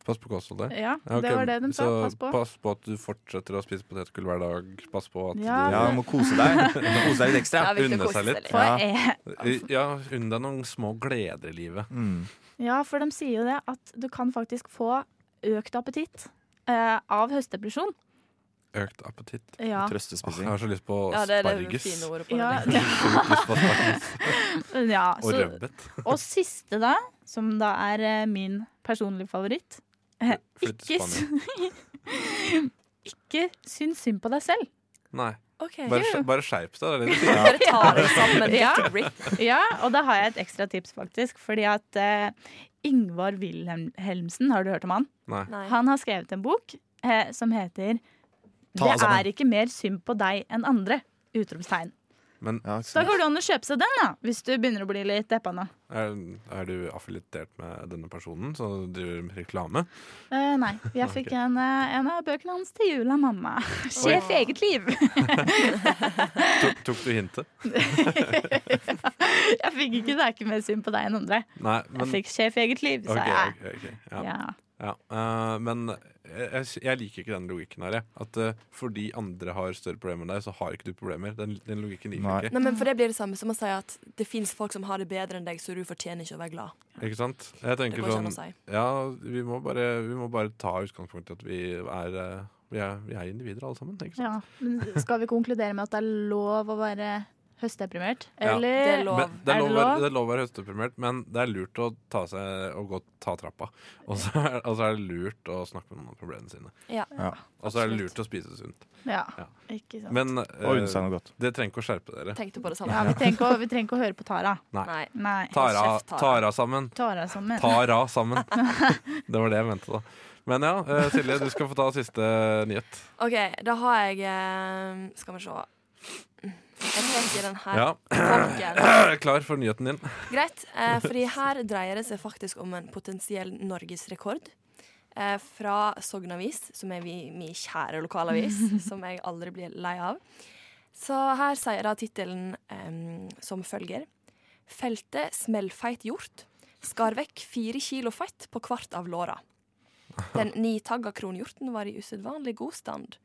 C: Pass på kostholdet.
E: Ja,
C: Ja, ok,
E: det var det de sa.
C: Så
E: Pass på.
C: pass på at du fortsetter å spise potetgull hver dag. Pass på at
E: Ja,
C: (laughs)
D: Ja, du må kose
E: (laughs)
D: deg. Du må kose deg litt
F: Det
D: ekstra.
F: er viktig å
C: unne seg
F: kose seg
C: litt.
F: litt.
E: For,
D: Ja.
E: eh,
C: du Ja, Unn deg noen små gleder i livet.
D: Mm.
E: (laughs) ja, for de sier jo det at du kan faktisk få økt appetitt eh, av høstdepresjon.
C: Økt appetitt.
E: Ja.
C: Åh, jeg
D: Trøstespising.
C: har så lyst på
F: Ja, det er det
C: asparges.
F: fine ordet på
E: Ja,
F: det.
C: Jeg har så lyst på asparges
E: (laughs) ja,
C: Og
E: så,
C: rødbet.
E: og siste, da, som da er eh, min personlige favoritt eh,
C: Flytt til
E: ikke, sy- (laughs) ikke syns synd på deg selv.
C: Nei,
E: (laughs)
F: OK.
C: bare, bare skjerp deg. Det er det du sier.
F: Bare
D: Ja.
F: ta deg sammen.
E: Ja.
F: Get grip.
E: Ja, og da har jeg et ekstra tips, faktisk. Fordi at eh, Ingvar Wilhelmsen, har du hørt om han?
C: Nei.
F: Nei.
E: Han har skrevet en bok eh, som heter
D: Ta
E: Det
D: deg sammen.
E: er ikke mer synd på deg enn andre. Utropstegn.
C: Men
D: Ja,
E: Så da går det an å kjøpe seg den, da, hvis du begynner å bli litt deppa nå.
C: er, er du affiliert med denne personen, så du driver med reklame?
E: Eh, nei. Jeg fikk en, eh, en av bøkene hans til jul av mamma. (laughs) Sjef i eget liv. (laughs)
C: Tok, tok du hintet?
E: Jeg fikk ikke 'Det er ikke mer synd på deg enn andre'.
C: Nei,
E: Jeg
C: men
E: fikk 'Sjef i eget liv', sa
C: Ok,
E: jeg.
C: ok, ok, ja.
E: Ja.
C: Ja, eh, men jeg, jeg- jeg liker ikke den logikken her. Jeg. At eh, fordi andre har større problemer enn deg, så har ikke du problemer. Den, den logikken liker
D: Nei.
C: jeg ikke.
F: Nei, men for det blir det samme som å si at det fins folk som har det bedre enn deg, så du fortjener ikke å være glad.
C: Ikke sant? Jeg
F: Det
C: tenker
F: går ikke an å
C: sånn
F: si.
C: Ja, vi må bare, vi må bare ta utgangspunkt i at vi er, eh, vi er, vi er individer alle sammen. Ikke sant?
E: ja. Men skal vi konkludere med at det er lov å være høstdeprimert?
C: Ja.
E: Eller
F: Det er lov.
C: Men det, er
E: Er
C: lov,
E: det
C: å være-
E: lov?
C: det er lov å være høstdeprimert, men det er lurt å ta, seg, å gå, ta trappa. Og så er, og så er det lurt å snakke med noen om problemene sine.
F: Ja.
D: Ja.
C: Og så er det lurt å spise sunt.
E: Ja.
C: Ja.
E: Ikke sant.
C: Men
D: Og unne
C: eh,
D: seg noe godt.
C: det trenger ikke å skjerpe dere.
F: Tenkte på det
E: Ja,
F: samme.
E: vi trenger ikke å- vi trenger ikke å høre på Tara.
F: Nei.
E: Nei.
C: Tara,
F: Kjeft, Tara.
C: Tara sammen.
E: Tara sammen.
C: Tara
F: (laughs)
C: sammen. Det var det jeg mente, da. Men ja, eh, Silje, du skal få ta siste nyhet.
F: OK, da har jeg eh, Skal vi se. Jeg tenker den her
C: Ja, (clears throat)
F: folken.
C: Klar for nyheten din.
F: Greit, eh, fordi her dreier det seg faktisk om en potensiell norgesrekord eh, fra Sognavis, som er vi- min kjære lokalavis, som jeg aldri blir lei av. Så her sier da tittelen eh, som følger. Feltet smellfeit hjort skar vekk fire kilo fett på kvart av låra. Den nitagga kronhjorten var i usedvanlig god stand.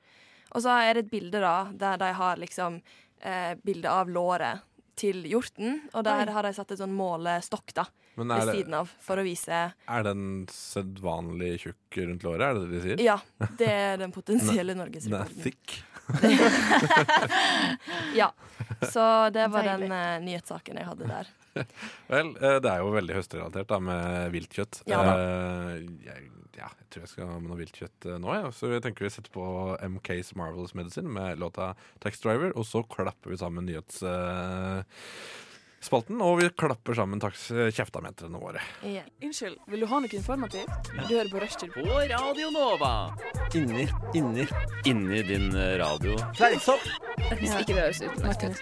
F: Og så er det et bilde da, der de har liksom eh, bilde av låret til hjorten, og der har de satt et sånn målestokk da,
C: Men
F: ved
C: er,
F: siden
C: det,
F: av, for å vise
C: er den sedvanlig tjukk rundt låret? Er det det de sier?
F: Ja, det er den
C: (laughs)
F: potensielle
C: Den er
F: norgesrekorden.
C: thick.
F: Ja. Så det var
E: Deilig.
F: den eh, nyhetssaken jeg hadde der.
C: Vel, eh, det er jo veldig høstrelatert da, med viltkjøtt.
F: Ja
C: Eh, jeg, ja, jeg tror jeg skal ha med noe viltkjøtt eh, nå, ja. så jeg tenker vi setter på MKs Marvelous Medicine med låta Tax Driver, og så klapper vi sammen nyhetsspalten. Og vi klapper sammen taks- kjeftametrene våre.
F: Ja.
I: Unnskyld, vil du ha noe informativt? Du hører på Rushtid.
J: På Radio Nova. Inni, inni, inni din eh, radio.
I: Hvis ikke det høres ut som et kutt.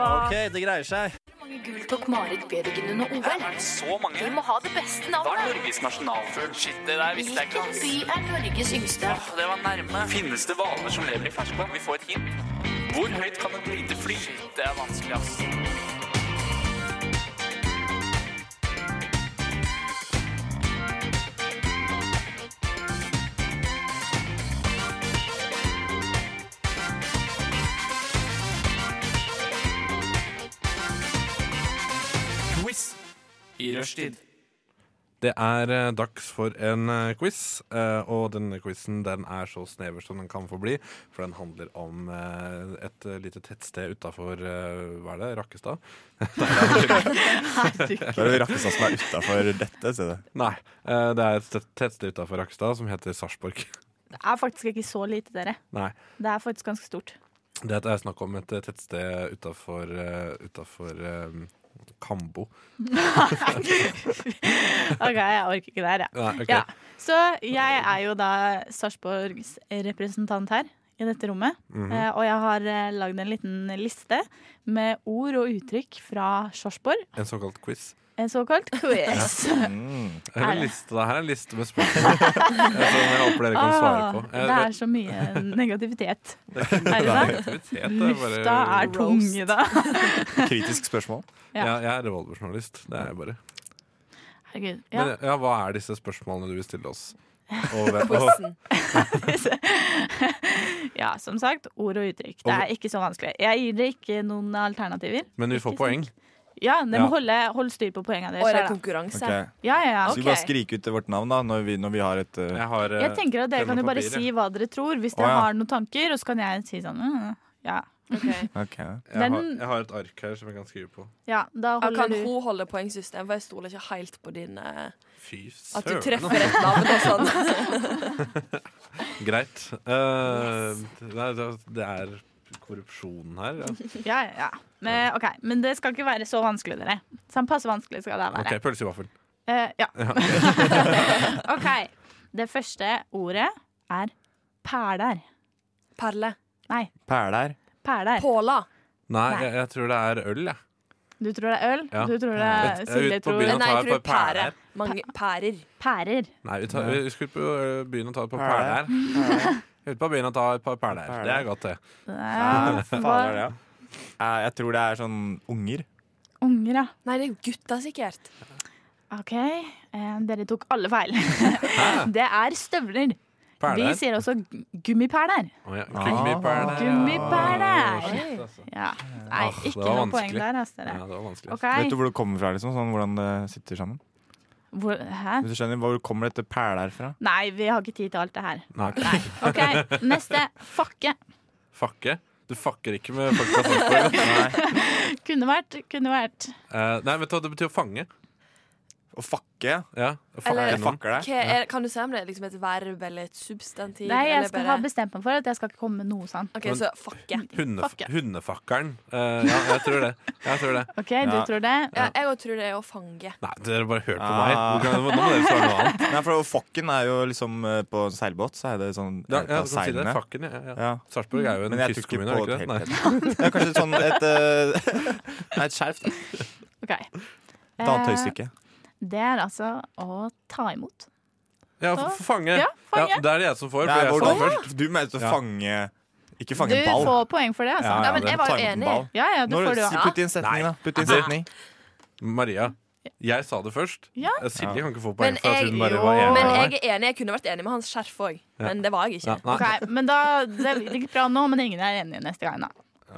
J: OK, det greier seg. Hvor mange gull tok Marit Bjørgen under OL? Er det så mange? Vi må ha det beste navnet. Hva er Norges nasjonalfugl? Shit, det der visste jeg ikke. Hvilken by er Norges yngste? Det var nærme. Finnes det hvaler som lever i ferskvann? Vi får et hint. Hvor høyt kan et lite fly? Shit, det er vanskelig, ass. Quiz i rushtid.
C: Det er eh, dags for en eh, quiz, eh, og denne quizen den er så snever som den kan få bli. For den handler om eh, et eh, lite tettsted utafor Hva er det? Rakkestad?
D: Da er det Rakkestad som er utafor dette stedet.
C: Nei. eh, Det er et tett- tettsted utafor Rakkestad som heter Sarpsborg. (laughs)
E: Det er faktisk ikke så lite, dere.
C: Nei.
E: Det er faktisk ganske stort. (laughs)
C: Det er snakk om et eh, tettsted utafor eh, Kambo.
E: OK, jeg orker ikke det her, jeg.
C: Nei, ok.
E: Ja. Så jeg er jo da Sarpsborgs representant her i dette rommet.
C: Mhm.
E: eh, og jeg har eh, lagd en liten liste med ord og uttrykk fra Sarpsborg.
C: En såkalt quiz.
E: En
C: (laughs)
E: såkalt quiz.
D: Mm.
C: Det er en
E: Er det?
C: liste, det her er en liste med spørsmål (laughs) eh, som jeg håper dere kan svare på.
E: Ah,
C: Eh,
E: det er så
C: (laughs)
E: mye negativitet. Er det
C: Nei,
E: sant?
C: aktivitet er bare-
E: Lufta er tung i dag.
D: Kritisk spørsmål.
E: Ja.
C: Ja, jeg er revolversjournalist. Det er jeg bare.
E: (laughs) Herregud.
C: Men
E: Ja.
C: ja. hva er disse spørsmålene du vil stille oss? Og, hvem- og,
F: Quizen.
E: ja, som sagt, ord og uttrykk. Det er ikke så vanskelig. Jeg gir dere ikke noen alternativer.
C: men vi får poeng.
E: Ja, dere må
C: Ja.
E: holde, holde styr på poengene
F: Og er det
E: deres. da.
F: konkurranse?
D: Ok.
E: Ja, ja, ja.
D: Skal vi bare skrike ut vårt navn da når vi, når vi har et eh,
C: Jeg har eh,
E: Jeg tenker at dere kan
C: penn
E: jo
C: og
E: bare
C: papir,
E: si
C: jeg.
E: hva dere tror, hvis
D: Å,
E: dere
D: ja.
E: har noen tanker, og så kan jeg si sånn mm, Ja.
F: Ok.
D: ok.
C: jeg, har,
E: den-
C: jeg har et ark her som jeg kan skrive på.
E: ja
F: Ja,
E: da holder
F: Kan
E: du.
F: hun holde poengsystem? For jeg stoler ikke helt på din eh,
C: Fy
F: At
C: søren.
F: du
C: altså.
F: treffer et navn og sånn.
C: Greit. Eh, nei, det, det er korrupsjon her. Ja.
E: (laughs) Ja, ja, ja. Men, ok, men det skal ikke være så vanskelig, dere. Sånn passe vanskelig skal det være.
C: OK, pølse i
E: (laughs)
C: vaffel.
E: Eh, ja. (laughs) OK. Det første ordet er perler.
F: (laughs) Perle.
E: Nei,
D: Perler.
E: perler.
F: Påla.
C: Nei,
E: Nei.
C: jeg, jeg tror det er øl, jeg.
E: Du tror det er øl,
C: Ja.
E: du tror det er
C: Jeg er
E: Silje
C: ute på
E: tror
C: byen
F: Nei,
C: og
F: jeg
C: tar
F: tror
C: et par
F: pære.
C: pærer.
F: Mange pærer.
E: pærer.
C: Nei, vi, tar, vi skulle på eh, byen og ta et par
D: Perler.
C: perler. Ute på byen og ta et par perler. Det er godt, det.
E: Ja,
D: Perler, ja. Eh, Jeg tror det er sånn unger.
E: Unger, ja.
F: Nei, det er jo gutta, sikkert.
E: OK. eh, dere tok alle feil. (laughs) det er støvler. Vi
C: Perler.
E: sier også g- gummiperler.
C: Å ja, Gummiperler.
E: Gummiperler.
C: Å, shit, altså.
E: Ja. Nei,
C: Åh, det
E: ikke
C: var
E: noe poeng
C: vanskelig.
E: der, altså.
C: Ja,
E: Dere.
C: det var vanskelig.
E: OK.
D: Vet du hvor det kommer fra? liksom, sånn Hvordan det sitter sammen?
E: Hvor, hæ?
D: Hvis du skjønner, Hvor kommer dette perler
E: (laughs)
D: fra?
E: Nei, vi har ikke tid til alt det her.
C: Nei.
E: OK, neste. Fakke.
C: Fakke? Du fakker ikke med folk fra
E: (laughs)
C: Sarpsborg. Nei.
E: Kunne vært, kunne vært.
C: Eh, nei, vet du hva, det betyr å fange.
D: Å fakke?
C: Ja, å fakke
F: Eller-
D: Jeg
C: noen.
D: fakker deg.
F: Hva er, kan du se om det er liksom et verb eller et substantiv?
E: Nei,
F: eller
E: jeg skal
F: bare-
E: ha bestemt meg for at jeg skal ikke komme med noe sånt.
F: OK, så fuck jeg.
C: Hunde,
E: Fakke.
C: hundefakkeren. Eh, ja, jeg tror det. Jeg tror det.
E: OK, du
D: Ja.
E: tror det?
F: Ja, jeg òg tror det er å fange.
C: Nei, dere bare hørte på
D: Ah.
C: meg. Hvor kan- Nå må dere svare noe (laughs) annet.
D: Nei, for fakken er jo liksom eh, På en seilbåt så er det sånn
C: Ja,
D: eh,
C: ja,
D: ta
C: du kan si det.
D: seilene.
C: Fakken, ja. ja, ja.
D: Ja.
C: Sarpsborg er jo en
D: Men jeg tror ikke
C: kystkommune,
D: på
C: er det
D: et
C: ikke det?
D: helt
C: Nei.
D: helt. Ja, Kanskje sånn et eh, (laughs) Nei, et skjerf. da.
E: OK.
D: Et annet tøystykke.
E: Det er altså å ta imot.
C: Ja, f- f- fange.
E: Ja, fange.
C: Ja, det er det jeg som får, for
D: Nei,
C: jeg
D: hvor
C: sa
D: du-
C: først.
D: Du mente å
C: Ja.
D: fange Ikke
E: Du
D: fange en ball.
E: får poeng for det, altså.
F: Ja, men jeg var jo enig.
E: Ja, ja, du
D: Nå,
E: får det
D: si,
E: også.
D: putt i en setning, da. Putt i en
C: (laughs)
D: setning.
C: Maria, jeg sa det først.
E: Ja.
C: Eh, Silje kan ikke få
F: Men
C: poeng for at
F: jeg-
C: hun bare
E: jo.
C: var enig
F: Men
C: med meg.
F: jeg er enig, jeg kunne vært enig med hans skjerf òg, men det var jeg ikke.
C: Ja,
E: OK,
C: nei,
E: men da Det det gikk bra nå, men ingen er enige
F: (laughs)
E: neste gang, da.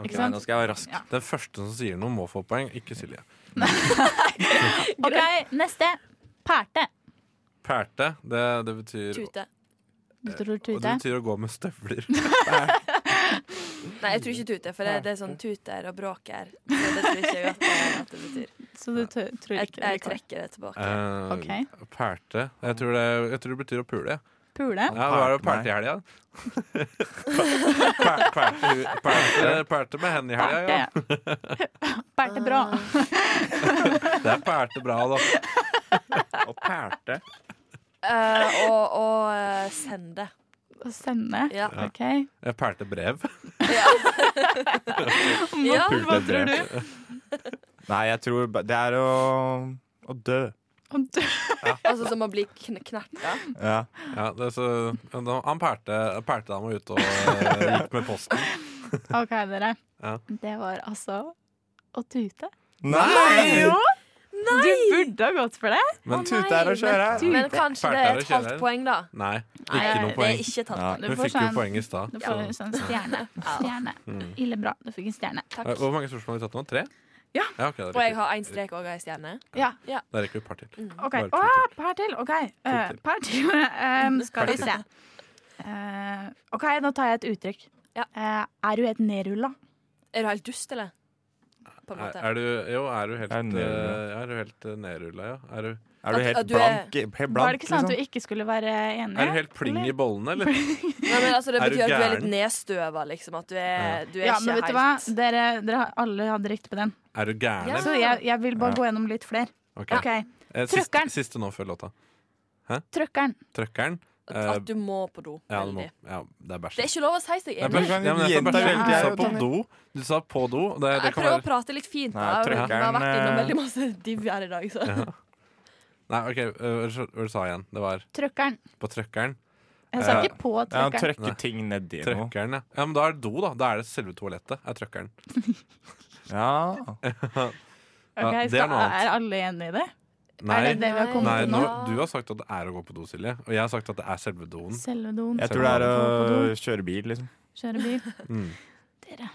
E: Ikke sant?
D: skal jeg være rask.
C: Den første som sier noe, må få poeng, ikke Silje.
E: OK, neste. Pælte.
C: Pælte, det, det betyr
F: Tute.
E: Du tror
C: Og det
E: tute?
C: betyr å gå med
E: (laughs)
C: støvler.
F: Nei, jeg tror ikke tute, for det, det er sånn tuter og bråker. Så det tror ikke jeg at det, at det
E: (laughs)
F: betyr.
E: Så du t- tror
F: Jeg,
E: ikke det?
F: jeg
E: går.
F: trekker det tilbake.
C: Eh,
E: Ok.
C: Pælte. Jeg tror, det, jeg tror det betyr å pule. jeg.
E: Pule?
C: Ja, hva er det å
D: Pælte
C: pælte i (laughs)
D: (laughs)
C: helga? Pæ- Pælte, hu- pælte, pælte Eh, med henne i helga, ja.
E: Berte. Berte bra.
F: Ah.
C: Det er pælte bra, da.
D: Og pælte.
F: Eh, og og eh, sende.
E: Å sende.
F: Ja.
E: OK.
C: Jeg pælte brev.
F: (laughs) Ja.
E: Hva tror du?
D: Nei, jeg tror ba- Det er å, å dø.
E: Om du- (laughs)
F: Altså som å bli kn knerta.
D: Ja.
C: Ja, det er så, han pælte, pælte dama ute og eh, gikk med posten.
E: OK, dere.
C: Ja.
E: Det var altså å tute.
D: Nei!
E: Jo! Du burde ha gått for det.
C: Men
D: Tute er å kjøre.
F: Men kanskje det er et
C: Pælter og
F: halvt
C: kjører.
F: poeng, da.
C: nei,
E: Nei,
C: ikke noe
F: Det er
C: poeng.
F: ikke et halvt
D: Ja.
F: poeng.
E: Du
C: Hun
E: får
C: fikk jo
E: sånn-
C: poeng i stad.
E: Du
C: så- mm.
E: får en sånn stjerne. Stjerne. Ille bra. Du fikk en stjerne.
C: Eh, Hvor mange spørsmål har vi tatt nå? Tre?
E: Ja.
C: Ja, ok, da rekker
F: Og jeg
C: vi-
F: har én strek og ei stjerne.
E: Ja.
C: Da rekker vi et par til.
E: OK.
C: Bare to
E: Å, par til. OK. Eh,
C: til.
E: par til. (laughs) Eh, skal
C: Par
E: vi
C: til.
E: se. Eh, OK, nå tar jeg et uttrykk.
F: Ja.
E: Eh, er du helt nedrulla?
F: Er du helt dust, eller? På en
C: Er,
F: måte.
C: er du Jo, er du helt
D: Er du nedrulla?
C: eh, Er du helt eh, nedrulla, ja? Er du,
D: Er du
F: At- at
D: helt
F: du er-
D: blank? Helt
E: Var det
D: blank
E: ikke sånn at
D: liksom?
E: du ikke skulle være enig?
C: er du helt pling i bollene, eller?
F: Nei, men altså, det
C: Er du
F: betyr at du er
C: gæren?
F: litt nedstøva, liksom. At du er, du er
E: Ja,
F: ikke
E: men vet du hva?
F: helt
E: Dere, dere har- alle hadde riktig på den.
C: Er du gæren,
F: Ja.
C: eller?
E: Så jeg, jeg vil bare
D: Ja.
E: gå gjennom litt flere.
C: Ok.
E: OK.
C: Eh, siste,
E: Trøkkeren.
C: siste nå før låta.
E: Trøkkeren.
C: Trøkkeren.
F: at, at du må på do.
C: ja, det, må,
F: veldig.
C: ja, det er
F: Det
C: bæsj.
F: er ikke lov å si seg
C: Det er
F: enig.
C: bæsj. Ja, men eh, jeg sa
D: Gjenta
C: bæsj.
E: veldig,
C: Du sa
D: jeg,
C: på
D: Tanja.
C: do. Du sa på do. Det, det
F: Jeg
C: kan
F: prøver å
C: være
F: prate litt fint.
D: Nei,
F: da. Vi har
D: trøkkeren,
F: vært innom
D: eh,
F: veldig masse div her i dag, så.
C: Nei, OK, eh, hva sa- hva sa jeg igjen? Det var
E: Trøkkeren.
C: på trøkkeren.
E: Jeg sa
C: Eh,
E: ikke på
D: Ja, han
E: trøkkeren.
C: Nei.
D: trøkker ting nedi noe.
C: Trøkkeren, ja. ja. Men da er det do, da. Da er det selve toalettet. er trøkkeren.
D: Ja.
C: Ja,
E: Ok,
C: det er
E: skal-
C: noe annet.
E: er alle enig i det? Er
C: Nei,
E: det det vi har kommet
C: nei
E: til
C: nå,
E: nå?
C: du har sagt at det er å gå på do, Silje. Og jeg har sagt at det er selve doen.
E: Selve doen.
D: Jeg tror det er å kjøre bil, liksom.
E: Kjøre bil.
C: Mm.
E: Dere.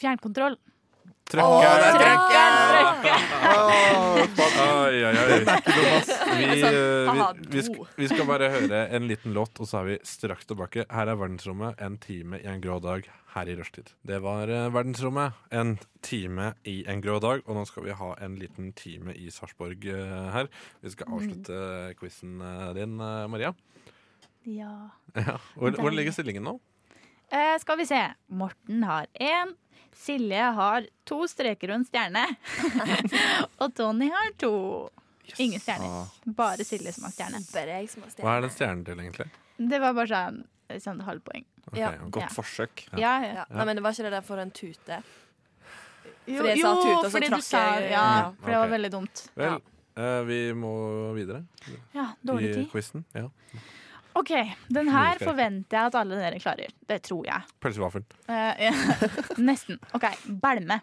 E: Fjernkontroll.
C: Trøkkeren!
F: Åh,
C: eh, Oi, oi, oi. Vi,
E: altså,
F: sånn,
C: eh, vi,
F: Haha,
C: vi, sk- vi skal bare høre en liten låt, og så er vi straks tilbake. Her er Verdensrommet, en time i en grå dag her i rushtid. Det var eh, Verdensrommet, en time i en grå dag, og nå skal vi ha en liten time i Sarpsborg eh, her. Vi
E: Mm.
C: skal avslutte eh, quizen din, eh, Maria. (laughs)
E: Ja.
C: Ja. Hvor, hvor ligger stillingen nå?
E: Eh, skal vi se. Morten har én. Silje har to streker og en stjerne. (laughs) og Tony har to. Ingen stjerner. Bare Silje som har stjerne.
F: Bare jeg som har
C: Ah. Hva
F: stjerne.
C: er den stjernen til, egentlig?
E: Det var bare sånn, sånn halvpoeng.
C: Ok,
F: Ja.
C: ok.
D: Godt forsøk.
E: Ja, ja.
F: Ja. Nei, men det var ikke det der for en tute.
E: Jo,
F: Fordi jeg sa tut, og så
E: fordi du
F: trakk
E: sa
F: jeg-
E: Ja,
C: Ja,
E: for det var
C: ok.
E: veldig dumt.
C: Vel, eh, vi må videre
E: Ja, Dårlig
C: i
E: tid.
C: quizen. Ja.
E: OK, den her
C: Mye skjerp.
E: forventer jeg at alle dere klarer. Det tror jeg.
C: Pølsevaffel.
E: Eh,
C: (laughs)
E: ja. Nesten. OK, bælme.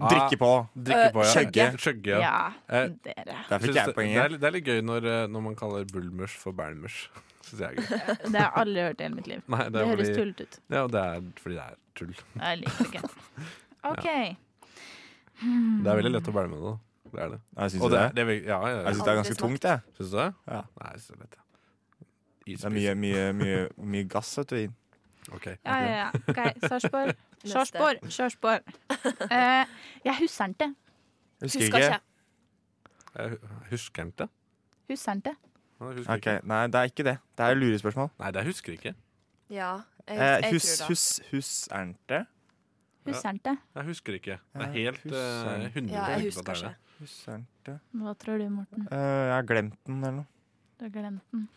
D: Drikke på.
C: Drikke på, ja.
D: Skjøgge.
C: Skjøgge, ja.
E: Eh, Ja,
C: Eh,
E: dere.
D: Der fikk
C: Syns det,
D: jeg
C: det, er,
D: poenget.
C: litt- det er litt gøy når, eh, når man kaller bulmers for (laughs) bælmers. Syns jeg er gøy.
E: Det har jeg aldri hørt i hele mitt liv.
C: Nei, det
E: Det
C: er
E: høres
C: fordi,
E: tullete ut.
C: ja, det er fordi det er tull.
E: Jeg liker (laughs) det ikke. OK. Hmm.
C: Det er veldig lett å bælme det. da. Det er det.
D: Jeg syns
C: Og det,
D: det,
C: er- det er, veld- ja, ja,
D: jeg
C: ja.
D: synes det er ganske tungt, jeg.
C: Syns du det?
D: Ja.
C: Nei, jeg syns det er lett. ja.
D: Det er mye, mye, mye, mye gass, vet du.
C: Ok.
E: Ja, ja, ja. OK, Sarpsborg.
F: Neste.
E: Sarpsborg, Sarpsborg. Eh, jeg husker det.
F: Husker
D: Husker ikke.
F: ikke.
C: Jeg husker ikke.
E: Husker det.
C: Nei, jeg husker
D: Ok,
C: ikke.
D: Nei, det er ikke det. Det er lurespørsmål.
C: Nei, det jeg husker ikke.
F: Ja, jeg,
D: Eh,
F: jeg
D: hus,
F: tror det.
D: hus, hus, er den det?
E: Husker det.
C: Jeg husker ikke. Det er
D: Jeg
C: helt
D: husker-
C: eh, 100
F: Ja, jeg
C: på at
F: husker
C: det er
F: ikke.
C: det.
D: Hus, er det?
E: Hva tror du, Morten?
D: Eh, jeg har glemt den eller noe.
E: Du har glemt den.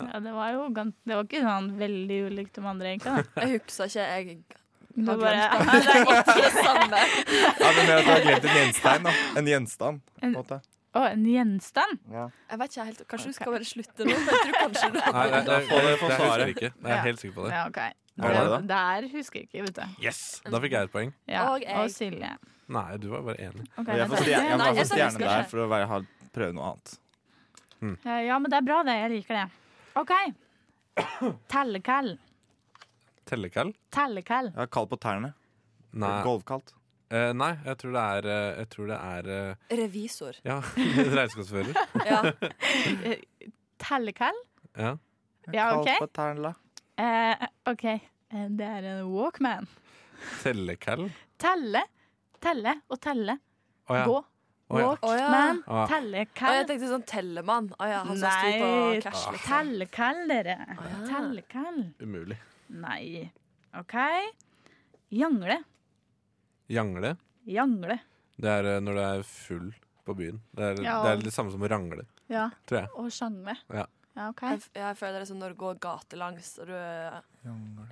E: Ja, det var jo gans Det var ikke sånn veldig ulikt de andre, egentlig.
F: (laughs)
E: da.
F: Jeg husker ikke. Jeg
E: Det var
F: har
E: (laughs) bare
F: glemt det. (laughs) Det er ikke det samme.
E: (laughs)
D: Ja, men jeg har glemt en gjenstand, da. En gjenstand, på en måte.
E: Å, en gjenstand?
D: Ja.
F: Jeg vet ikke helt. Kanskje
E: Ok.
F: du skal bare slutte nå? for Jeg tror kanskje du
C: Nei, nei, nei,
D: Da får
C: jeg,
D: dere
C: jeg,
D: få
C: husker
D: svaret.
C: ikke. Jeg er
E: Ja.
C: helt sikker på det.
E: Ja, OK.
D: Hva var det,
E: Det her husker jeg ikke, vet du.
C: Yes! Da fikk jeg et poeng.
E: Ja.
F: Og jeg.
E: Og Silje.
C: Nei, du var bare enig.
E: Ok,
D: Jeg får
E: det-
D: stjerne, jeg må
F: Nei,
D: få
F: jeg sa
D: stjerne
F: husker
D: der
F: ikke.
D: for å være, ha, prøve noe annet.
E: Eh, Ja, men det er bra, det. Jeg liker det. OK. Tellekall.
C: Tellekall?
E: Tellekall.
D: Jeg har kaldt på tærne.
C: Nei.
D: Golvkaldt.
C: Eh, nei, jeg tror det er, eh, jeg tror det er eh,
F: Revisor.
C: Ja, (laughs) regnskapsfører.
F: Ja.
E: Tellekall?
C: Ja.
E: Ja,
D: Kaldt
E: OK.
D: på tærne, da.
E: Eh, OK. Eh, Det er en walkman.
C: Tellekall.
E: Telle, telle og telle.
C: Å ja.
E: Gå.
C: Å, ja.
F: Å, ja.
E: Walkman.
C: Å, ja.
E: Telle,
F: Og jeg
E: kall.
F: tenkte sånn Tellemann. Å ja, han som sto på
E: Nei, Ah.
F: cash, liksom.
E: telle, kall, dere.
F: ja.
E: Telle, kall.
C: Umulig.
E: Nei. OK. Jangle.
C: Jangle.
E: Jangle.
C: Det er eh, når du er full på byen. Det er,
E: Ja.
C: det er det samme som å rangle,
E: Ja.
C: tror jeg.
E: Og sjangle.
C: Ja.
E: OK.
F: Jeg, f- jeg føler det er som når du går gatelangs, og du eh,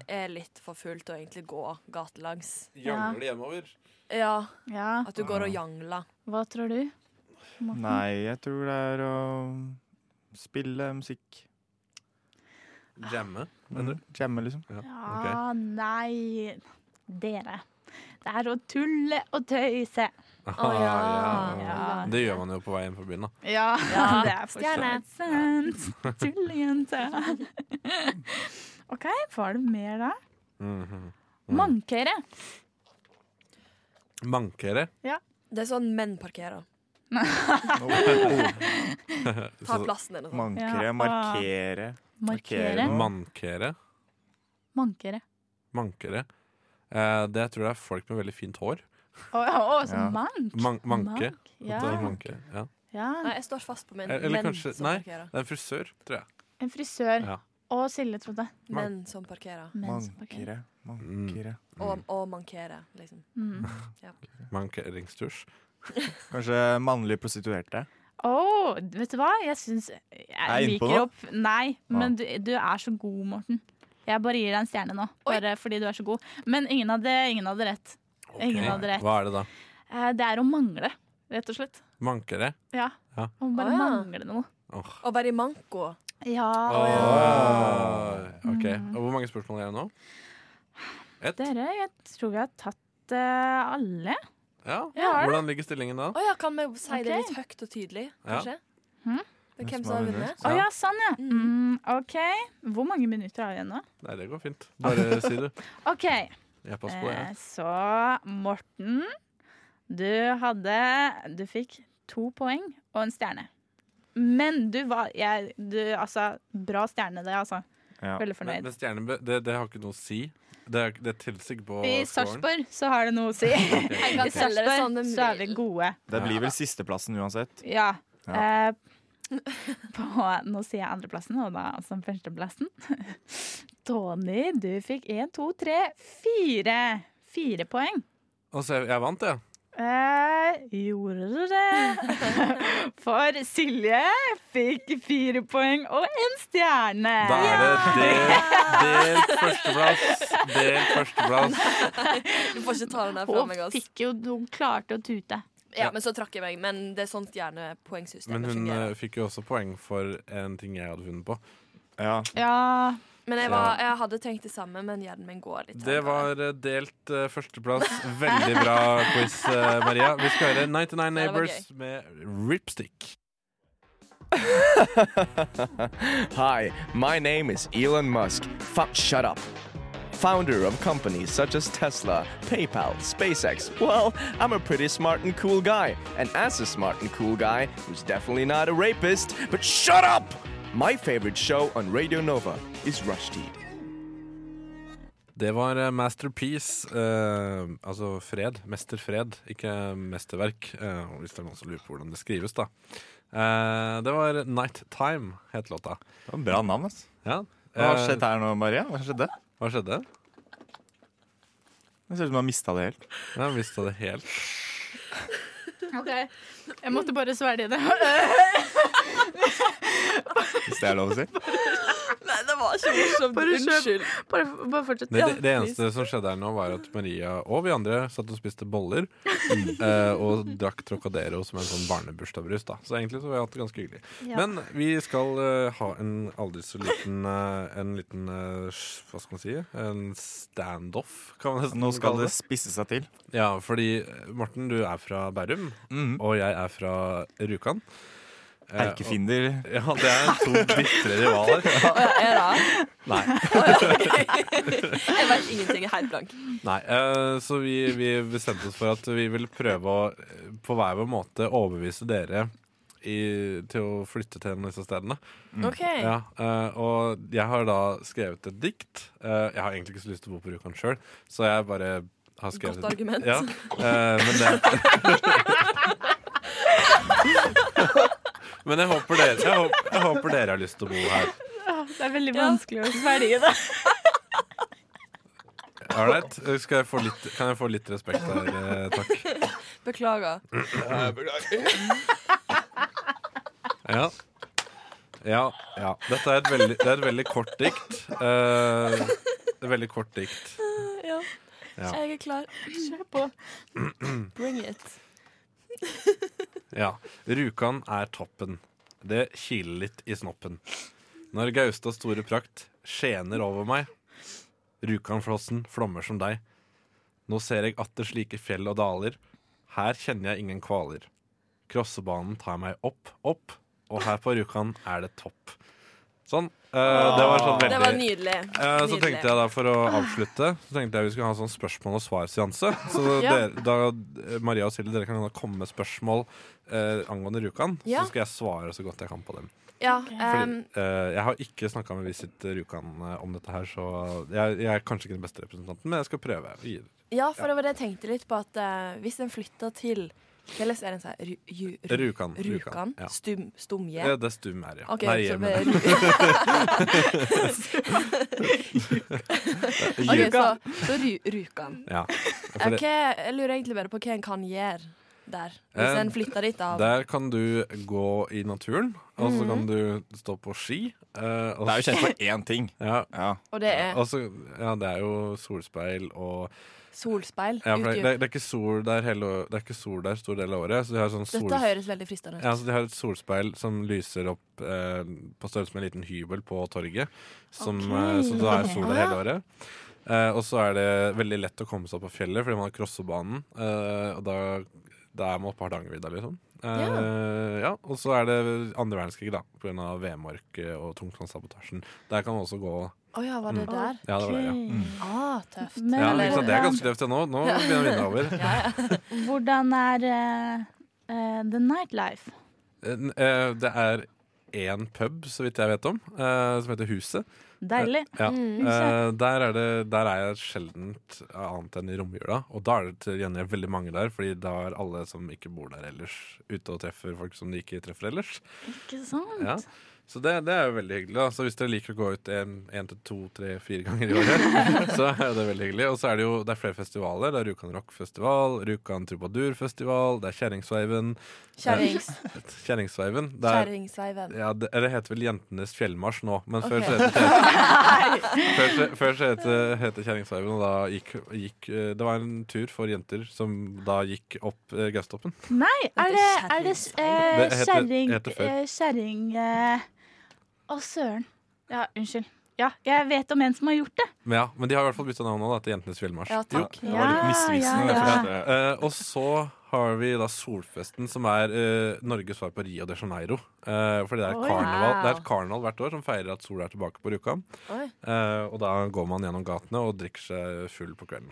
F: er litt for full til å egentlig gå gatelangs.
E: Jangle
C: hjemover.
F: Ja,
E: Ja.
F: at du
C: Ah.
F: går og jangler.
E: Hva tror du? Morten?
D: Nei, jeg tror det er å spille musikk.
C: Jamme.
D: Mm. Jamme,
E: (laughs)
D: liksom.
C: Ja. ok.
E: Ja, nei. Dere. Det er å tulle og tøyse.
C: Ah, ja.
H: Ah,
E: Ja.
C: Det gjør man jo på vei hjem fra byen, da.
E: Ja,
F: Ja,
E: det er for
F: stjerne.
E: så vidt (laughs) sant. Tullejente. OK, var det mer da?
C: Mhm.
D: Mm.
E: Mankere.
C: Mankere.
E: Ja.
F: Det er sånn menn parkerer.
E: (laughs)
F: Ta plassen din og sånn.
D: Mankere,
E: Ja.
D: markere
E: Markere.
D: noe.
C: Mankere.
E: Mankere.
C: Mankere. Eh, det tror jeg er folk med veldig fint hår.
E: Å, ja, å, så
C: Ja.
E: mank.
C: Man manke.
E: Mank, ja.
C: Det er manke. Ja.
E: Ja.
F: Nei, jeg står fast på menn,
C: Eller
F: menn
C: kanskje
F: som
C: Nei, det
F: parkerer.
C: er en frisør, tror jeg.
E: En frisør.
C: Ja.
E: Og Silje trodde.
C: man-
F: Menn som parkerer.
E: Menn som parkerer.
D: Mankere,
C: Mm,
D: mankere.
F: Og, og mankerer, liksom.
E: Mm.
C: Mankeringstusj.
D: Kanskje mannlige prostituerte.
E: Å, vet du hva? Jeg syns Jeg,
D: jeg inne på
E: liker
D: noe?
E: opp Nei, men du, du er så god, Morten. Jeg bare gir deg en stjerne nå, bare fordi du er så god. Men ingen hadde, ingen hadde rett. Ingen
C: Ok.
E: hadde rett.
C: Hva er det da?
E: Eh, Det er å mangle, rett og slett.
C: Mankere?
E: Ja.
C: Ja.
E: Å bare
F: Å, ja.
E: mangle noe.
C: Åh.
F: Å være i manko.
E: Ja,
C: Ah. Åh, Ok, og Hvor mange spørsmål er det nå? Ett?
E: dere, jeg tror vi har tatt eh, alle.
C: Ja.
E: Ja, er det?
C: Hvordan ligger stillingen da?
F: Å ja, kan vi si det
E: Ok.
F: litt høyt og tydelig,
C: Ja.
F: kanskje?
E: Hm?
F: Men
D: Hvem
F: Hvem
D: som
F: som har
D: har
F: vunnet?
E: Å
C: Ja.
E: ja, sånn ja. Mm, OK. Hvor mange minutter har vi igjen nå?
C: Nei, det går fint.
E: (laughs)
C: Bare si du.
E: OK,
C: Jeg passer på,
E: eh,
C: jeg.
E: så Morten, du hadde Du fikk to poeng og en stjerne. Men du var jeg, du, Altså, bra stjerne, det, altså.
D: Ja.
C: Men,
E: Veldig fornøyd.
C: men stjernen, be- det, det har ikke noe å si. Det, er- det teller ikke på
E: I
C: scoren.
E: Sarpsborg så har det noe å si.
C: Ok.
E: (laughs) I Sarpsborg så er vi gode.
D: Det blir vel sisteplassen uansett.
E: Ja.
D: Ja.
E: Eh, på, nå sier jeg andreplassen, og da altså førsteplassen. (laughs) Tony, du fikk én, to, tre, fire. Fire poeng.
C: Og så jeg, jeg vant, jeg.
E: Eh, gjorde du det? (laughs) For Silje fikk fire poeng og en stjerne.
C: Da er det delt, delt
E: (laughs)
C: førsteplass. Delt førsteplass.
F: Du får ikke ta den der fra
E: Hun
F: meg. ass.
E: fikk jo, hun klarte å tute.
F: Ja, men så trakk jeg meg. Men det er sånt gjerne poengsystemet
C: Men hun eh,
F: fungerer.
C: fikk jo også poeng for en ting jeg hadde vunnet på.
D: Ja.
E: Ja,
F: Men jeg, var, jeg hadde tenkt det samme, men hjernen min går litt.
C: eh, Det
F: trangere.
C: var eh, delt eh, førsteplass. Veldig bra quiz, eh, Maria. Vi skal høre 99
F: Ja, det var
C: Neighbors med Ripstick.
K: (laughs) Hi, my name is Elon Musk. Fuck, shut up. Founder of companies such as Tesla, PayPal, SpaceX. Well, I'm a pretty smart and cool guy. And as a smart and cool guy, who's definitely not a rapist, but shut up! My favorite show on Radio Nova is Rush Teed.
C: Det var eh, Masterpiece, eh, altså Fred. Mester Fred, ikke mesterverk. Eh, hvis det er noen som lurer på hvordan det skrives, da. Eh, det var Night Time, het låta.
D: Det var en bra navn, ass.
C: Ja.
D: Hva har
C: Eh,
D: skjedd her nå, Maria? Hva skjedde?
C: Hva skjedde?
D: Det ser ut som du har mista det helt.
C: Jeg mista det helt.
E: OK. Jeg måtte bare svelge det.
D: Hvis det er (laughs) lov å si.
F: Nei, det var ikke morsomt.
E: Bare kjøp.
F: Unnskyld.
E: (laughs) Bare, bare fortsett.
C: Det, det, det eneste som skjedde her nå, var at Maria og vi andre satt og spiste boller. eh, og drakk Trocadero som en sånn barnebursdagsbrus. da. Så egentlig så har vi hatt det ganske hyggelig. Men vi skal eh, ha en aldri så liten eh, En liten eh, sj- Hva skal man si? En standoff, kan man nesten
D: Nå skal
C: kalle
D: det spisse seg til.
C: Ja, fordi eh, Morten, du er fra Bærum,
D: Mhm.
C: og jeg er fra Rjukan. Eh, og-
D: Erkefiender.
C: ja, det (laughs) er
D: (laughs)
C: to bitre rivaler.
F: Er det?
C: Nei.
F: (laughs) Jeg vet ingenting. Jeg er helt blank.
C: Nei, eh, så vi, vi bestemte oss for at vi ville prøve å eh, på hver vår måte overbevise dere i, til å flytte til en av disse stedene.
F: OK.
C: Mm. Ja, eh, og jeg har da skrevet et dikt. Eh, jeg har egentlig ikke så lyst til å bo på Rjukan sjøl, så jeg bare har skrevet
F: Godt argument.
C: Ja, eh, men det (laughs) Men jeg håper, dere, jeg, håper, jeg håper dere har lyst til å bo her.
E: Det er veldig vanskelig å svelge det.
C: Ålreit. Skal jeg få litt, kan jeg få litt respekt her, eh, takk?
F: Beklager.
C: Ja. ja, ja. Dette er et veldig, det er et veldig kort dikt. Eh, det er veldig kort dikt.
F: Ja.
C: Ja.
F: Jeg er klar.
E: Kjør på.
F: Bring it.
C: Ja. Rjukan er toppen. Det kiler litt i snoppen. Når Gaustas store prakt skjener over meg, Rjukanflossen flommer som deg. Nå ser jeg atter slike fjell og daler, her kjenner jeg ingen kvaler. Krossebanen tar meg opp, opp, og her på Rjukan er det topp. Sånn. Eh, det var sånn
L: Ah.
C: veldig
L: Det var nydelig.
C: Eh, så
L: Nydelig.
C: tenkte jeg da For å avslutte Så tenkte jeg vi skulle ha en sånn spørsmål og svar-seanse.
F: (laughs)
C: Så
L: Ja.
C: dere, da, eh, Maria og Silje, dere kan da komme med spørsmål eh, angående Rjukan.
F: Ja.
C: Så skal jeg svare så godt jeg kan på dem.
F: Ja,
C: Fordi,
F: ehm,
C: eh, jeg har ikke snakka med Visit Rjukan eh, om dette her, så jeg, jeg er kanskje ikke den beste representanten, men jeg skal prøve. å gi det.
F: ja, for det var det jeg tenkte litt på. At eh, hvis en flytter til Hvordan er den sånn? Ru- ju- ru-
C: Rjukan.
F: Rjukan?
C: Ja.
F: Stum, stumje?
C: Ja, det er stum her, ja.
F: Ok,
C: Nei, eh,
F: så
C: jeg
F: det er
C: mener- (laughs)
F: Ru- Ok, så, så ru, Rjukan.
C: (laughs) Ja,
F: Eh,
C: for det-
F: hva- jeg lurer egentlig bare på hva en kan gjøre der, hvis
C: Eh,
F: en flytter dit av
C: Der kan du gå i naturen, og så
F: Mhm.
C: kan du stå på ski. eh,
D: Det er jo kjent for én ting.
C: Ja.
F: Og det er?
C: Og så- Altså, ja, det er jo solspeil og
F: solspeil.
C: ja, for det,
F: utdyp.
C: det, det er ikke sol der hele å- Det er ikke sol der stor del av året. Så de har sånn sol,
F: Dette høres veldig fristende ut.
C: ja, altså- så de har et solspeil som lyser opp eh, på størrelse med en liten hybel på torget. Som,
A: Ok.
C: eh, så da er sol
A: Ah,
C: der hele
A: ja.
C: året. Eh, og så er det veldig lett å komme seg opp på fjellet fordi man har crossebanen. Eh, og da, da er man oppe på Hardangervidda, liksom. Eh, ja. og så er det andre verdenskrig, da, pga. VM-orket og tungtvannssabotasjen. Der kan man også gå.
F: Å ja, var det
C: Mm.
F: der?
C: Ja, det var det, ja.
E: Ok.
C: Mm.
F: Ah, tøft.
C: Ja, ikke sant? Det er ganske tøft, det nå. Nå
E: (laughs) Ja.
C: begynner vinden over.
E: eh, Hvordan er eh, eh, the nightlife?
C: N- eh, Det er én pub, så vidt jeg vet om, eh, som heter Huset.
E: Deilig.
C: Eh, Ja.
E: Mm.
C: Eh, Der, er det, der er jeg sjeldent annet enn i romjula. Og da er det til gjengjeld veldig mange der, fordi da er alle som ikke bor der ellers, ute og treffer folk som de ikke treffer ellers.
E: Ikke sant?
C: Ja. Så det, det er jo veldig hyggelig. da Så hvis dere liker å gå ut en, en til to, tre, fire ganger i året, (laughs) så er det veldig hyggelig. Og så er det jo det er flere festivaler. Det er Rjukan Rockfestival, Rjukan Trubadurfestival, det er Kjerringsveiven.
F: Kjerrings.
C: Eh, Kjerringsveiven. Det er-
F: Kjerringsveiven.
C: ja, det, eller det heter vel Jentenes fjellmarsj nå, men
F: Ok.
C: før så het det- før så- før så het det- het det Kjerringsveiven, og da gikk, gikk eh, Det var en tur for jenter som da gikk opp eh, Gaustoppen.
E: Nei, er det, er det eh,
C: Det heter-
E: kjerring
C: heter før.
E: eh, Kjerring eh, Å, søren. Ja, unnskyld. Ja, jeg vet om en som har gjort det.
C: Men, ja, men de har i hvert fall bytta navn nå da, til Jentenes fjellmarsj.
E: Ja, takk.
C: Jo, det var litt
E: Ja,
C: misvisende,
E: ja,
C: det
E: ja.
C: første. Eh, og så har vi da Solfesten, som er eh, Norges svar på Rio de Janeiro. Eh, fordi det er,
A: Oi.
C: karneval,
A: Wow.
C: det er et karneval hvert år som feirer at sola er tilbake på Rjukan.
F: Oi.
C: Eh, og da går man gjennom gatene og drikker seg full på kvelden.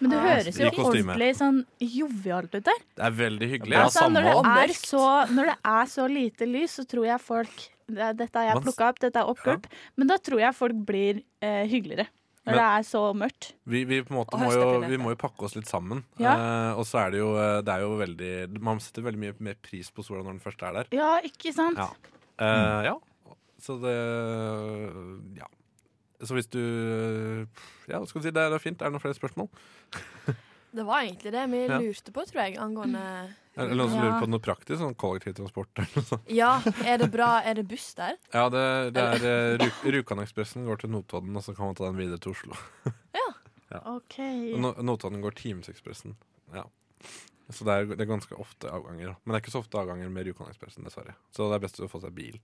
E: Men det
C: Eh,
E: høres jo
C: i kostyme.
E: ordentlig sånn jovialt ut der.
C: Det er veldig hyggelig.
E: Altså, når, det er så, når det er så lite lys, så tror jeg folk det er- Dette har jeg
C: Man s-
E: plukka opp, dette er oppgulp. Men da tror jeg folk blir eh, hyggeligere. Når
C: Men-
E: det er så mørkt.
C: Vi, vi, på en måte
E: Og
C: må, jo,
E: høstepilete.
C: vi må jo pakke oss litt sammen.
E: Ja.
C: Eh, og så er det jo, eh, det er jo veldig Man setter veldig mye mer pris på sola når den først er der.
E: Ja, ikke sant?
C: Ja. Eh, ja. Så det Ja. Så hvis du Ja, hva skal du si? Det er det er fint. Er det noen flere spørsmål?
F: Det var egentlig det vi
C: Ja.
F: lurte på, tror jeg, angående
C: Er det noen som
F: Ja.
C: lurer på noe praktisk? Sånn kollektivtransport eller noe sånt?
F: Ja, er det bra? Er det buss der?
C: Ja, det, det er eh, Ru- Rjukanekspressen går til Notodden, og så kan man ta den videre til Oslo. Ja.
E: OK.
C: Og No Notodden går Timesekspressen. Ja. Så det er, det er ganske ofte avganger. da. Men det er ikke så ofte avganger med Rjukanekspressen, dessverre. Så det er best å få seg bil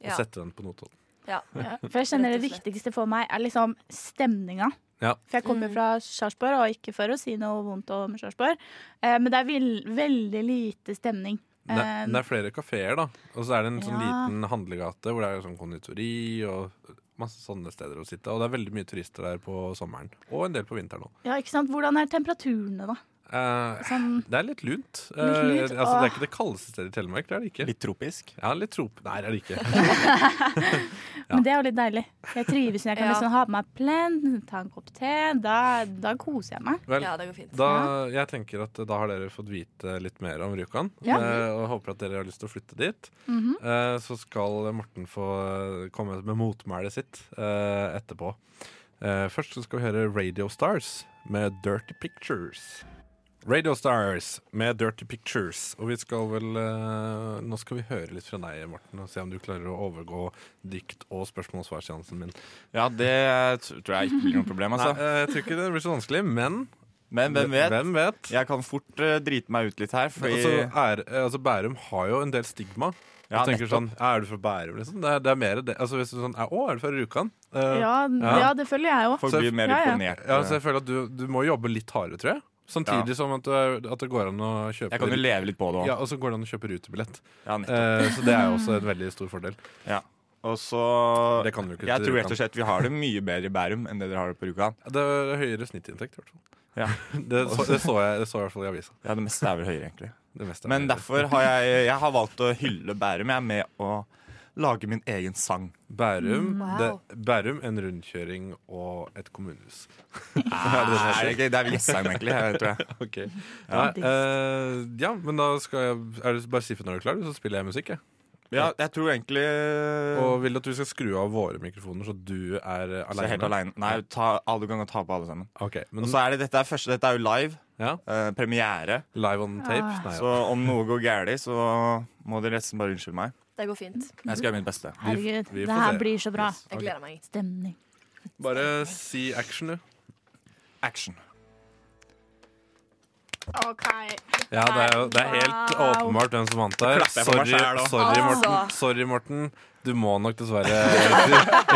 C: og
E: Ja.
C: sette den på Notodden.
F: Ja.
E: (laughs) For jeg kjenner det viktigste for meg er liksom stemninga.
C: Ja.
E: For jeg
F: Mm.
E: kommer fra Sarpsborg, og ikke for å si noe vondt om Sarpsborg, eh, men det er vil, veldig lite stemning.
C: Det,
E: Eh,
C: det er flere kafeer, da. Og så er det en sånn
E: Ja.
C: liten handlegate hvor det er sånn konditori og masse sånne steder å sitte. Og det er veldig mye turister der på sommeren. Og en del på vinteren òg.
E: ja, ikke sant? Hvordan er temperaturene, da?
C: Eh, (laughs)
E: Sånn-
C: det er litt lunt. Eh, altså,
E: Litt lunt,
C: det er
E: åh.
C: ikke det kaldeste stedet i Telemark. det er det ikke Litt tropisk? Ja, litt trop... Nei, det er det
E: (laughs)
C: ikke.
E: Men det er jo litt deilig. Jeg trives når jeg kan
F: Ja.
E: liksom ha på meg plen, ta en kopp te. Da, da koser jeg meg.
C: Vel, Da, jeg tenker at da har dere fått vite litt mer om Rjukan,
E: Ja.
C: eh, og håper at dere har lyst til å flytte dit.
E: Mhm.
C: Eh, Så skal Morten få eh, komme med motmælet sitt eh, etterpå. Eh, Først så skal vi høre Radio Stars med Dirty Pictures. Radio Stars med Dirty Pictures. Og vi skal vel eh, Nå skal vi høre litt fra deg, Morten, og se om du klarer å overgå dikt- og spørsmål-svar-seansen min.
D: Ja, det t- tror jeg ikke blir noe problem, altså.
C: Nei, eh, jeg tror ikke det blir så vanskelig, men
D: Men (laughs) hvem vet?
C: Hvem
D: Jeg kan fort eh, drite meg ut litt her, fordi
C: Altså, er, altså Bærum har jo en del stigma.
D: Ja,
C: Jeg tenker
D: nettopp.
C: sånn, Er du fra Bærum, liksom? Det er, det er mer det. Altså, hvis du er sånn, Å, er du fra Rjukan? Eh,
E: Ja, ja, det føler jeg òg.
C: Så jeg- Ja, så jeg føler at du, du må jobbe litt hardere, tror jeg. Samtidig som at, du er- at det går an å kjøpe
D: Jeg kan jo leve litt på det også.
C: Ja, Og så går det an å kjøpe rutebillett.
D: Ja, nettopp.
C: Eh, så det er jo også en veldig stor fordel.
D: Og så
C: Det kan du ikke
D: Jeg
C: til
D: tror
C: Rjukan.
D: rett og slett vi har det mye bedre i Bærum enn det dere har det på Rjukan.
C: Det er høyere snittinntekt, i hvert fall.
D: Ja.
C: (laughs) Det, så, det, så jeg, det så jeg i hvert fall i avisa.
D: Ja, det meste er vel høyere, egentlig.
C: (laughs) Det meste er
D: Men
C: høyere.
D: derfor har jeg, jeg har valgt å hylle Bærum. Jeg er med å lage min egen sang.
C: Bærum,
D: Wow.
C: det, Bærum en rundkjøring og et kommunehus. Nei, Ah.
D: Nei, (laughs) det er ikke- det er Jessheim egentlig, jeg tror jeg.
C: Ok.
D: Ja.
C: Nei, eh, ja, men da skal jeg er det Bare si fra når du er klar, så spiller jeg musikk, jeg.
D: Ja, jeg tror egentlig
C: Og vil at du skal skru av våre mikrofoner, så du er eh,
D: Eh. Så
C: aleine.
D: helt alene. Nei, ta, alle kan ta på alle sammen.
C: Ok, men-
D: og så er det dette er første, dette er jo live. Eh, premiere.
C: Live on tape? Ah. Nei, ja.
D: Så om noe går galt, så må dere nesten bare unnskylde meg.
F: Det går fint.
D: Jeg skal gjøre mitt beste.
E: Herregud, det her blir så bra.
F: Jeg gleder meg.
E: Stemning.
C: Bare si action, du.
D: Action.
E: OK.
C: Ja, det er, jo, det er helt
E: Wow.
C: åpenbart hvem som vant
D: Nå
C: her.
D: klapper jeg for meg
C: Sorry,
D: selv nå.
C: sorry, Morten.
D: Altså.
C: sorry, Morten. Du må nok dessverre (laughs)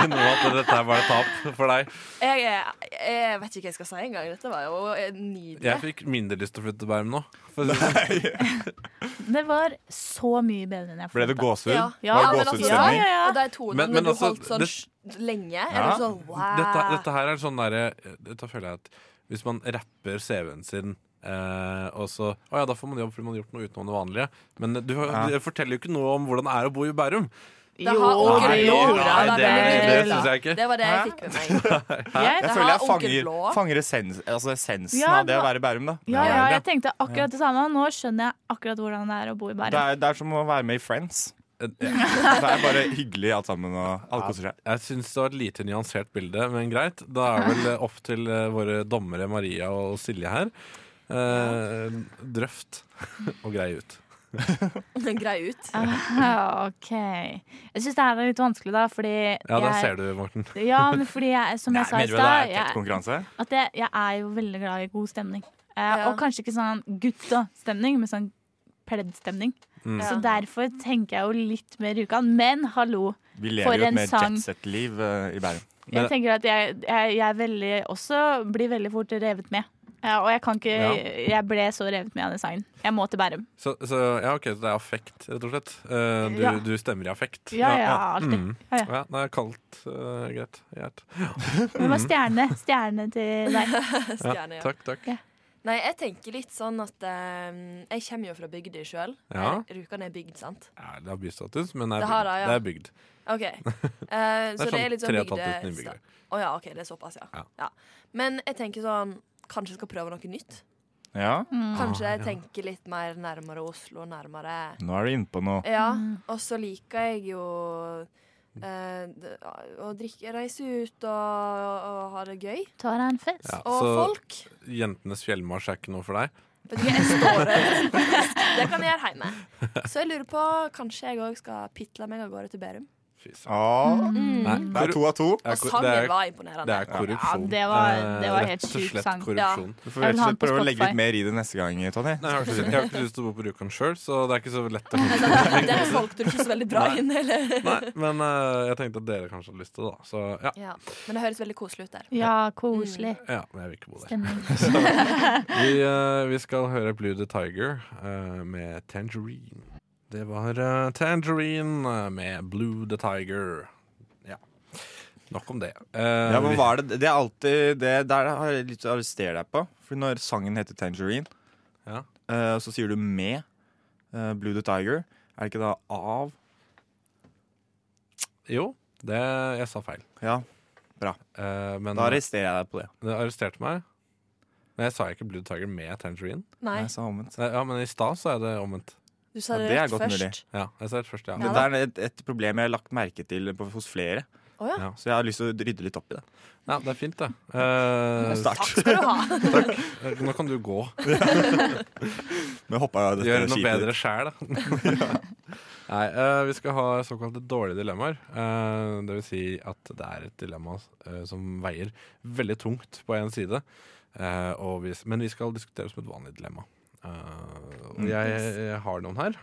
C: innrømme at dette her var et tap for deg.
F: Jeg, er- jeg vet ikke hva jeg skal si engang. Dette var jo eh, nydelig.
C: Jeg fikk mindre lyst til å flytte til Bærum nå. For å si det sånn.
E: Det var så mye bedre enn jeg
C: Ble det gåsehud?
E: Ja. altså,
C: Ja. Var det
F: altså-
C: gåsehudstemning?
E: Ja, ja, ja.
F: Og de tonene
C: Men- men
F: du
C: altså,
F: holdt sånn
C: det-
F: sj- lenge, er
C: Ja.
F: du sånn wow.
C: dette, dette her er sånn derre Dette føler jeg at hvis man rapper CV-en sin eh, og så, å ja, Da får man jobb fordi man har gjort noe utenom det vanlige. Men du, du forteller jo ikke noe om hvordan det er å bo i Bærum.
F: Det har onkel
C: Nei,
F: Blå.
C: nei, det, det, det
F: Vel,
C: syns jeg ikke.
F: Det var det jeg fikk med meg.
E: Jeg-
D: Jeg
E: Det
D: føler
E: har
D: jeg
E: onkel
D: fanger,
E: Blå.
D: fanger essens, altså essensen
E: Ja,
D: av det
E: det
D: å
E: var-
D: være i Bærum, da.
E: Ja, ja, jeg tenkte akkurat det samme. Nå skjønner jeg akkurat hvordan det er å bo i
D: Det
E: Bærum.
D: er, det er som å være med i Friends. Det er bare hyggelig alt sammen, og alle koser seg.
C: Jeg syns det var et lite nyansert bilde, men greit. Da er vel eh, opp til eh, våre dommere Maria og Silje her. Eh, drøft (laughs) og grei ut.
F: (laughs) Grei ut.
E: Ah, (laughs) OK. Jeg syns det her er litt vanskelig, da, fordi
C: Ja, der
E: jeg-
C: ser du, Morten.
E: Ja, men fordi jeg, som jeg sa i stad jeg,
D: konkurranse?
E: At jeg, jeg er jo veldig glad i god stemning. Eh, Og kanskje ikke sånn gutta-stemning, men sånn pledd-stemning.
D: Mm.
E: Så
D: Ja.
E: derfor tenker jeg jo litt mer Rjukan. Men hallo,
D: Vi lever
E: for
D: jo et
E: en
D: mer
E: sang. Mm.
D: jetset-liv eh, i Bærum.
E: Jeg tenker at jeg, jeg, jeg er veldig, også blir veldig fort revet med. Ja, og jeg kan ikke
C: Ja.
E: Jeg ble så revet med av den sangen. Jeg må til Bærum.
C: Så, så ja, OK, så det er affekt, rett og slett. Eh, du,
E: Ja.
C: du stemmer i affekt. Mm.
E: Ja, ja, alltid. Ja, ja.
C: Ja, det er kaldt. eh, greit.
F: (laughs)
C: Greit.
E: Det
C: Mm.
E: var stjerne. Stjerne til deg.
F: Stjerne, ja.
C: (laughs) Takk, takk.
F: Nei, jeg tenker litt sånn at eh, Jeg kommer jo fra bygda sjøl.
C: Ja.
F: Rjukan er bygd, sant?
C: Ja, det har bystatus, men det er
F: Det
C: bygd.
F: har det, ja.
C: det er bygd. (laughs)
F: OK. Eh,
C: Det er
F: så det
C: sånn
F: er litt sånn
C: 3500
F: bygde...
C: innbyggere.
F: Å ja, OK, det er såpass, ja. ja. Men jeg tenker sånn Kanskje jeg skal prøve noe nytt?
D: Ja.
F: Kanskje jeg
D: Ja.
F: tenker litt mer nærmere Oslo, nærmere
D: Nå er du inne på noe.
F: Ja, og så liker jeg jo eh, d- å drikke, reise ut og, og ha det gøy.
E: Ta deg en fest.
C: Ja,
F: og
C: så
F: folk.
C: Jentenes fjellmarsj er ikke noe for deg.
F: Vet du hva, jeg står her, (laughs) faktisk. Det kan jeg gjøre hjemme. Så jeg lurer på, kanskje jeg òg skal pitle meg av gårde til Bærum.
D: Åh.
F: Mm.
C: Nei,
D: Det er to av to.
F: Og sangen var imponerende. (laughs)
C: Det er korrupsjon.
F: Ja, det var- det var
C: Eh, Rett
F: helt
C: og
F: syk
C: slett
F: sang.
C: korrupsjon.
F: Ja.
D: Du får rett og slett prøve å legge litt mer i det neste gang, Tonje.
C: Nei, jeg har ikke, jeg har ikke lyst til å bo på Rjukan sjøl, så det er ikke så lett. å
D: (laughs)
F: Den solgte du ikke så veldig bra
C: Nei.
F: inn, eller?
C: Nei, men eh, jeg tenkte at dere kanskje hadde lyst til det, da. Så ja.
F: Ja. Men det høres veldig koselig ut der.
E: Ja, koselig.
C: ja. Men jeg vil ikke bo der.
E: Stemning.
C: (laughs) Så, vi, eh, vi skal høre Blue the Tiger eh, med Tangerine. Det var eh, Tangerine eh, med Blue the Tiger. Ja. Nok om det. Eh,
D: Ja, men
C: vi-
D: hva er det? Det er alltid det der har jeg lyst til å arrestere deg på. For når sangen heter Tangerine,
C: Ja.
D: eh, så sier du med eh, Blue the Tiger. Er det ikke da av?
C: Jo, det, jeg sa feil. Eh,
D: Ja, bra. Da arresterer jeg deg på det.
C: Det arresterte meg. Men jeg sa ikke Blue Tiger med Tangerine.
F: Nei.
D: Jeg sa omvendt.
C: Nei, Ja, men i stad så er det omvendt.
F: Du sa
D: Ja,
F: det
D: det er
F: rett
D: godt
F: først.
D: mulig.
C: Ja, jeg sa det først, ja.
D: Det der er et, et problem jeg har lagt merke til på, hos flere.
F: Å ja.
D: Så jeg har lyst til å rydde litt opp i det.
C: Ja, det er fint, det. Eh,
D: Takk skal (laughs)
F: du ha.
C: Takk. Eh, Nå kan du gå.
D: Nå hoppa jeg dette
C: Gjøre noe
D: skipet
C: bedre
D: ditt.
C: sjæl,
D: (laughs)
C: da. Nei, eh, vi skal ha såkalte dårlige dilemmaer. Eh, det vil si at det er et dilemma eh, som veier veldig tungt på én side. Eh, og vi, men vi skal diskutere det som et vanlig dilemma. Eh, og
D: Mm.
C: jeg, jeg har noen her.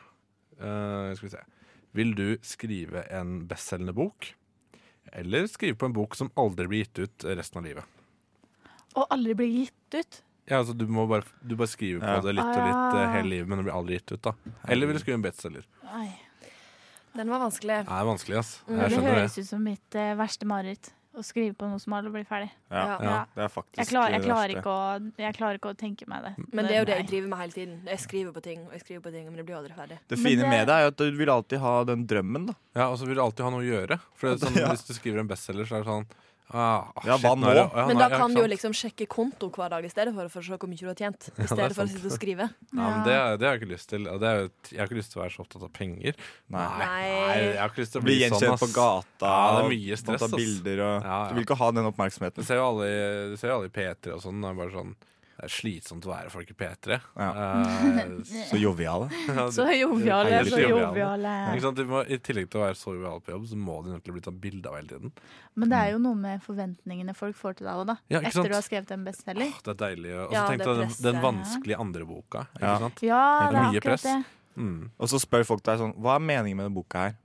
C: Eh, skal vi se. Vil du skrive en bestselgende bok? Eller skrive på en bok som aldri blir gitt ut resten av livet?
E: (laughs) Og aldri bli gitt ut.
C: Ja, altså Du må bare, du bare skriver på
D: Ja.
C: det litt og
E: Ah,
C: litt
E: ja.
C: eh, hele livet, men det blir aldri gitt ut. da Eller vil du skrive en bestselger?
E: Nei.
F: Den var vanskelig.
C: Det er vanskelig, ass.
F: Mm.
E: det
C: Jeg skjønner
E: høres
C: det.
E: ut som mitt eh, verste mareritt. Å skrive på noe som alle blir ferdig.
C: Ja, ja, det er faktisk
E: jeg klarer, jeg
C: det
E: klarer,
C: verste.
E: ikke å, jeg klarer ikke å tenke meg det.
F: Men det er jo det jeg
E: Nei.
F: driver med hele tiden. Jeg skriver på ting, og jeg skriver på ting, men det blir aldri ferdig.
D: Det fine med det er jo at du vil alltid ha den drømmen, da.
C: Ja, og så vil du alltid ha noe å gjøre. For det er sånn,
D: (laughs) Ja.
C: Hvis du skriver en bestselger, så er det sånn ah,
D: Ja, hva
C: nå er det-
D: nå?
C: ja,
F: Men
C: nå-
F: da
C: ja,
F: kan
C: ikke
F: du jo
C: sant?
F: liksom sjekke konto hver dag i stedet for, for å se hvor mye du har tjent. I
C: Ja, det er
F: stedet for å
C: sant.
F: sitte og skrive.
C: Nei, men det, det har jeg ikke lyst til. Og Det er, jo et- jeg har ikke lyst til å være så opptatt av penger. Nei,
F: Nei.
C: jeg har ikke lyst til å
D: Bli
C: bli, sånn.
D: gjenkjent
C: ass.
D: på gata,
C: Ja, det er
D: og
C: mye
D: man
C: stress.
D: tar
C: ass.
D: bilder og-
C: ja, ja.
D: Du vil ikke ha den oppmerksomheten.
C: Du ser jo alle, i- du ser jo alle i P3 og sånn. Det er bare sånn det er slitsomt å være folk i P3.
D: (laughs)
C: Eh,
D: Så joviale.
C: Ja,
E: Så
C: de-
E: joviale,
C: de er
E: så eh.
C: veldig
E: joviale.
C: Ikke sant? De må, I tillegg til å være så joviale på jobb, så må de nødt bli tatt bilde av hele tiden.
E: Men det er jo noe med forventningene folk får til deg òg, da.
C: Ja, ikke sant?
E: Etter du har skrevet en bestselger.
C: Det er deilig. Og så
E: Ja,
C: tenk
E: det
C: deg den,
E: presset.
C: den vanskelige andre boka. Ikke
D: Ja.
C: sant? Mm.
E: Ja,
D: det er
C: mye
D: akkurat
C: press.
E: det.
D: Og så spør folk deg sånn Hva er meningen med denne boka her?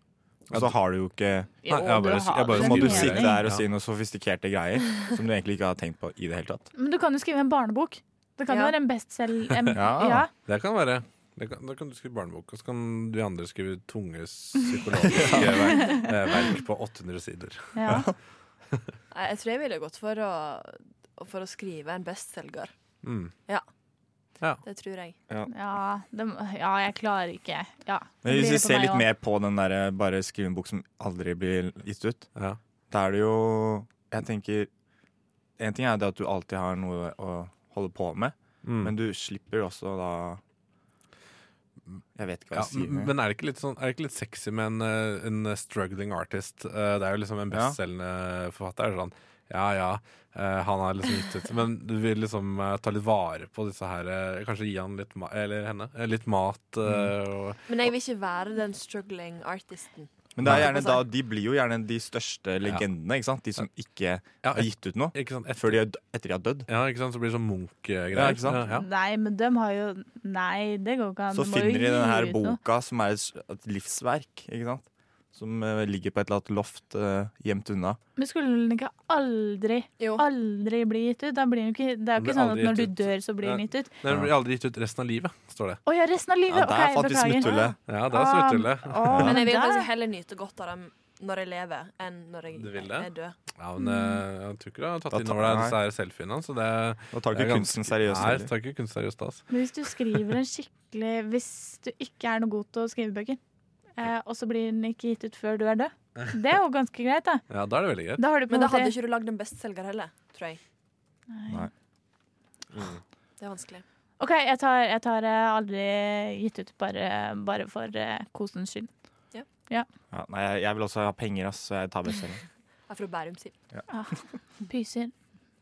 D: Og så har du jo ikke
E: Jo, Nei, jeg har du bare- har jeg bare
D: Så må
E: skriver
D: du
E: det.
D: sitte
E: mening.
D: der og si
E: Ja.
D: noen sofistikerte greier som du egentlig ikke har tenkt på i det hele tatt.
E: Men du kan jo skrive en barnebok. Det kan jo
F: Ja.
E: være en bestselger. en-
D: Ja.
E: Ja.
C: Det kan være. Det kan, da kan du skrive barnebok, og så kan de andre skrive tunge
D: (laughs)
C: psykologiske verk, eh, verk på 800 sider.
E: Ja.
F: Nei, Jeg tror jeg ville gått for å, for å skrive en bestselger.
C: Mm.
F: Ja.
C: Ja.
F: Det tror jeg.
D: Ja.
E: Ja, det, ja, jeg klarer ikke. Ja.
D: Men
E: Det
D: hvis
E: blir
D: vi
E: det for
D: ser
E: meg
D: litt
E: også.
D: mer på den derre bare skrive en bok som aldri blir gitt ut, da er det jo Jeg tenker En ting er det at du alltid har noe å holde på med,
C: Mm.
D: men du slipper også da Jeg vet ikke hva
C: Ja,
D: jeg sier.
C: men men er det, ikke litt sånn, er det ikke litt sexy med en, eh, en struggling artist? Eh, Det er jo liksom en
D: Ja.
C: bestselgende forfatter. er Sånn, ja ja, eh, han har liksom gitt ut Men du vil liksom eh, ta litt vare på disse her eh, Kanskje gi han litt ma eller henne eh, litt mat. eh,
D: Mm.
C: Og,
F: Men jeg vil ikke være den struggling artisten.
D: Men det er gjerne da, de blir jo gjerne de største legendene, ikke sant? De som ikke har gitt ut noe før de, er d- etter de har dødd.
C: ja, ikke sant? Så blir det sånn Munch-greier.
D: Ja, ikke sant?
C: Ja, ja.
E: Nei, men dem har jo Nei, det går ikke an.
D: Så
E: Du må jo
D: finner de
E: gi
D: denne her
E: ut noe.
D: boka som er et s- et livsverk, ikke sant? Som eh, ligger på et eller annet loft eh, gjemt unna.
E: Men skulle den ikke aldri, aldri bli gitt ut? Da blir den jo ikke, det er
C: Den
E: jo
C: blir
E: ikke sånn at
C: aldri
E: når du
C: gitt ut.
E: dør, så blir den gitt ut.
C: Nei, Den blir aldri gitt ut resten av livet, står det.
E: Å ja, resten av livet!
C: Ja, der
E: ok,
C: fant vi
E: beklager.
C: smutthullet. Ja, der er
E: Ah,
C: smutthullet.
E: å,
C: Ja.
F: Men jeg vil
E: der-
F: faktisk heller nyte godt av dem når jeg lever, enn når jeg
C: Du vil det?
F: er død.
C: Ja, men eh, jeg tror ikke du har tatt
D: Da
C: inn
D: tar-
C: over deg
D: nei.
C: disse her selfiene. Så det,
D: Da tar du
C: det
D: ikke
C: er
D: kunsten seriøst
C: Nei,
D: heller.
C: tar ikke kunst seriøst. ass.
E: Men hvis du skriver en skikkelig Hvis du ikke er noe god til å skrive bøker, eh, og så blir den ikke gitt ut før du er død, det er jo ganske greit, da.
C: Ja, da er det veldig greit.
E: Da har du på
F: Men da
E: en måte-
F: hadde ikke du lagd en bestselger heller, tror jeg.
D: Nei.
C: Mm.
F: Det er vanskelig.
E: OK, jeg tar, jeg tar eh, aldri gitt ut bare, bare for eh, kosens skyld.
F: Ja.
D: Ja, nei, jeg, jeg vil også ha penger, ass, så jeg tar bestselgeren.
F: Jeg er fra Bærum, sier
E: Ah, (laughs) pyser,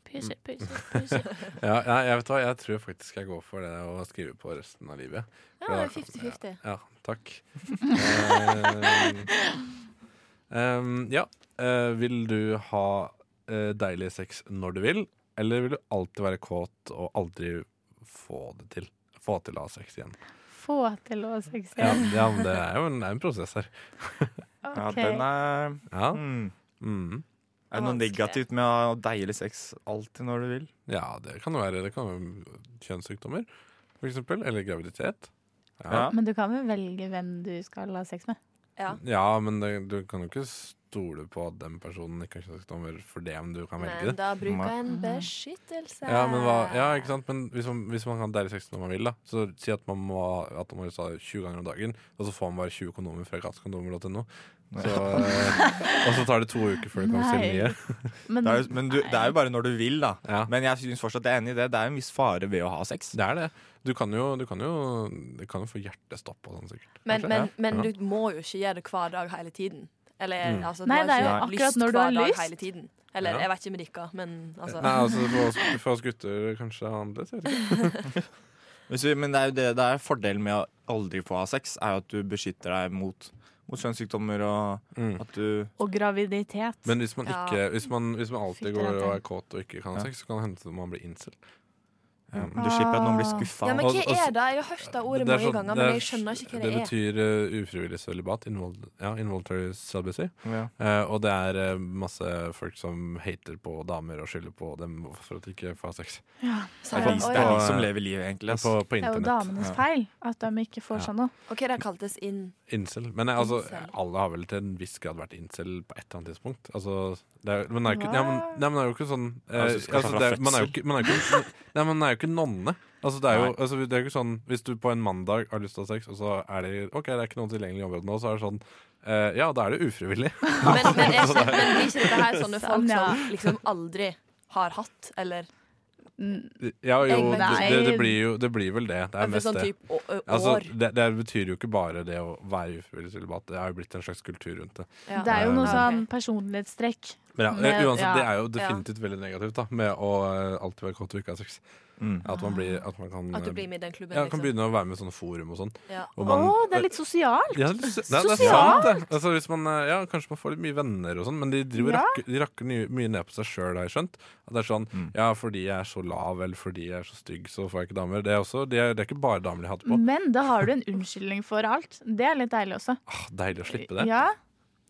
E: pyser, pyser,
D: Mm.
E: pyser.
C: (laughs) Ja, nei, jeg, vet hva, jeg tror faktisk jeg går for det å skrive på resten av livet.
F: Ja,
C: For da-
F: det er 50-50.
C: Ja, takk. Eh, (laughs) em, ja. eh, vil du ha eh, deilig sex når du vil, eller vil du alltid være kåt og aldri få det til? Få til å ha sex igjen.
E: Få til å ha sex
C: Ja,
E: igjen.
C: ja men det er jo en, det er en prosess her.
D: Ja, den er
C: Ja.
D: Mm.
C: Mm.
D: Er det noe negativt med å ha deilig sex alltid når du vil?
C: Ja, det kan jo være, det kan være kjønnssykdommer, for eksempel. Eller graviditet.
D: Ja.
E: Men du kan vel velge hvem du skal ha sex med?
F: Ja.
C: Ja, men det, du kan jo ikke stole på at den personen ikke har kjønnssykdommer for det, men du kan velge
F: Men
C: det.
F: da bruker jeg en beskyttelse.
C: Ja, men hva, ja, ikke sant? Men hvis man, hvis man kan deilig sex når man vil, da, så si at man må at man må ta det 20 ganger om dagen, og så får man bare 20 kondomer fra gatekondomer.no. Så, eh, og så tar det to uker før det kommer
D: Nei.
C: selv nye.
D: Men,
E: Men-
D: det, er, jo- men du, det er jo bare når du vil, da. Men jeg syns fortsatt jeg er enig i det. Det er en viss fare ved å ha sex.
C: Det er det. Du kan jo, du kan jo, du kan jo få hjertestopp og sånn, sikkert.
F: Men,
C: Kanskje?
F: men,
C: Ja.
F: men du må jo ikke gjøre det hver dag hele tiden. Eller,
C: Mm.
F: altså,
E: Nei,
F: du
E: det er
F: har
E: jo
F: ikke
E: akkurat når du har
F: hver dag
E: lyst.
F: Hele tiden. Eller
C: Ja.
F: jeg vet ikke med dere, men altså
C: Nei, altså for oss, for oss gutter kanskje annerledes, jeg vet ikke.
D: Hvis vi, men det er jo det, det er fordelen med å aldri få ha sex, er jo at du beskytter deg mot, mot kjønnssykdommer og
C: Mm.
D: at du
E: Og graviditet.
C: Men hvis man, ikke, hvis man, hvis man
E: Fikk
C: alltid
E: dere
C: går og
E: den?
C: er kåt og ikke kan ha
D: Ja.
C: sex, så kan det hende at man blir incel.
D: Ja, men du slipper at noen blir skuffa.
F: Ja, men
C: altså, Og-
F: hva
C: og-
F: er det? Jeg har hørt det ordet
C: Det er sånn-
F: mange ganger,
C: det er-
F: men jeg skjønner ikke hva det er.
C: betyr eh, ufrivillig sølibat. invol- Ja, involuntary celibacy.
D: Ja.
C: Eh, og det er eh, masse folk som hater på damer og skylder på dem for at de ikke får sex.
E: Ja.
F: Så
D: Det er de-
F: Oi.
D: det er de som lever livet, egentlig. ass. (laughs)
C: På, på
E: Det er jo
C: internett.
E: damenes
C: Ja.
E: feil at de ikke
C: Ja.
E: får seg noe.
F: OK, det kaltes inn.
C: (laughs) Incel. Men eh, altså,
F: Incel.
C: alle har vel til en viss grad vært incel på et eller annet tidspunkt. Altså, det er, men, det er jo ikke, ja, men, nei, men det er jo ikke sånn eh,
D: Altså, du skal ta
C: altså,
D: fra
C: det er, Man er jo
D: fødsel.
C: ikke, man er jo ikke, nei, man er jo ikke nonne. Altså, det, er jo,
D: Nei.
C: altså, det er jo ikke sånn Hvis du på en mandag har lyst til å ha sex, og så er det Ok, det er ikke noen tilgjengelig i området nå, så er det sånn eh, Ja, da er det ufrivillig. (laughs)
F: Men, men, er,
C: altså,
F: ikke- men blir ikke dette her sånne folk
E: Sånn, ja.
F: som liksom aldri har hatt, eller
C: Ja, jo, det,
E: Nei.
C: det, det, blir jo det blir vel det. Det er
F: eller
C: mest
F: sånn
C: det.
F: type å- å- år?
C: Altså, det, det betyr jo ikke bare det å være ufrivillig sølibat. Det er jo blitt en slags kultur rundt det.
F: Ja.
E: Det er jo noe
F: Ja,
E: sånn
F: ok.
E: personlighetstrekk.
C: Men ja, eh,
E: Men-
C: uansett,
E: ja.
C: det er jo definitivt veldig negativt da med å eh, alltid være kåt og ikke ha sex.
D: Mm.
C: At man, blir, at man kan, eh,
F: At du blir med i den klubben,
C: ja, kan
F: liksom.
C: begynne å være med i sånne forum og sånn.
F: Ja.
C: hvor
E: Å,
C: man-
E: det er litt sosialt!
C: ja, det, er litt- det, er- det er
E: Sosialt!
C: sant, det. Altså, hvis man, eh, ja, kanskje man får litt mye venner og sånn, men de, driver,
E: Ja.
C: rakker, de rakker ny- mye ned på seg sjøl, har jeg skjønt. At det er sånn
D: Mm.
C: Ja, fordi jeg er så lav, eller fordi jeg er så stygg, så får jeg ikke damer. Det er, også, det er, det er ikke bare damer de hater på.
E: Men da har du en unnskyldning for alt. Det er litt deilig også.
C: Ah, deilig å slippe det.
E: Ja,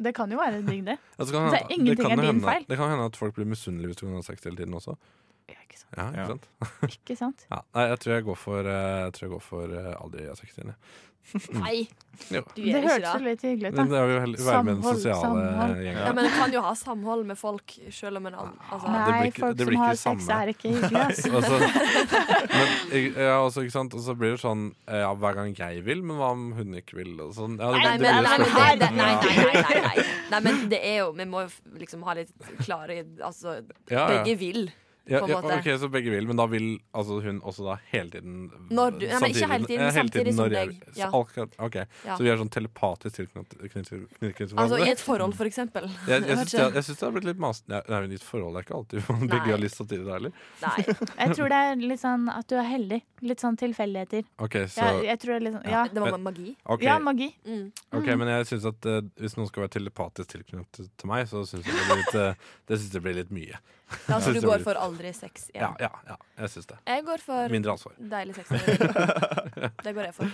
E: det kan jo være digg, det.
C: Altså, kan,
E: Det er
C: hende-
E: ingenting
C: kan
E: er
C: jo
E: din
C: hende,
E: feil.
C: Det kan hende at folk blir misunnelige hvis du kan ha sex hele tiden også.
E: Ja, ikke sant?
C: Ja, ikke
D: Ja.
C: sant?
E: Ikke sant?
C: Ja, nei, jeg tror jeg går for, eh, jeg tror jeg går for eh, aldri ha sex igjen. jeg. Mm.
F: Nei,
C: Jo.
F: du
E: Det
F: gjør
E: hørtes
F: ikke det.
E: jo litt hyggelig ut,
C: Men
E: da.
C: det er jo heller, være med i den
E: Samhold,
C: sosiale
E: samhold.
F: Ja,
C: gjengen.
F: men en kan jo ha samhold med folk, selv om en al- altså,
C: det blir
E: Nei,
C: ikke-
E: folk
C: det blir
E: som har
C: ikke
E: sex,
C: samme.
E: er ikke hyggelige. ass.
C: Altså, men, jeg- ja, også, ikke sant? Og så blir det sånn eh, ja, hver gang jeg vil, men hva om hun ikke vil? Og sånn. ja, det,
F: Nei,
C: det
F: men,
C: blir
F: nei,
C: jo
F: men,
C: spørsmål.
F: det, det, nei, nei, nei, nei, nei. nei, men det er jo Vi må jo f- liksom ha litt klare Altså,
C: Ja, ja.
F: begge vil.
C: Ja,
F: på en
C: ja,
F: måte.
C: ok, Så begge vil, men da vil altså, hun også da hele tiden
F: Når du- ja, men ikke hele tiden,
C: ja,
F: samtidig som
C: når jeg-
F: deg. Ja.
C: så akkurat- Ok,
F: Ja.
C: Så vi er sånn telepatisk tilknyttet til hverandre?
F: Altså i et forhold, for eksempel.
C: Jeg, jeg,
F: Vet
C: syns
F: ikke. (laughs)
C: det, jeg syns det har blitt litt masete. Nei, nei, men ditt forhold er ikke alltid (laughs) man
F: Nei.
C: begge har lyst samtidig. da, heller.
F: Nei.
E: Jeg tror det er litt sånn at du er heldig. Litt sånn tilfeldigheter.
C: Ok, så,
E: Jeg, jeg tror det er litt sånn, ja.
F: Det var magi.
C: ok,
E: ja, magi.
F: Mm.
C: ok, men jeg syns at eh, hvis noen skal være telepatisk tilknyttet til meg, så syns jeg det blir litt, eh, det synes jeg blir litt mye.
F: Ja,
C: Ja.
F: så Altså, du går for aldri sex
C: Ja,
F: igjen.
C: ja, ja jeg syns det.
F: Jeg går for
C: Mindre ansvar. (laughs)
F: deilig sex. når jeg vil. Det går jeg for.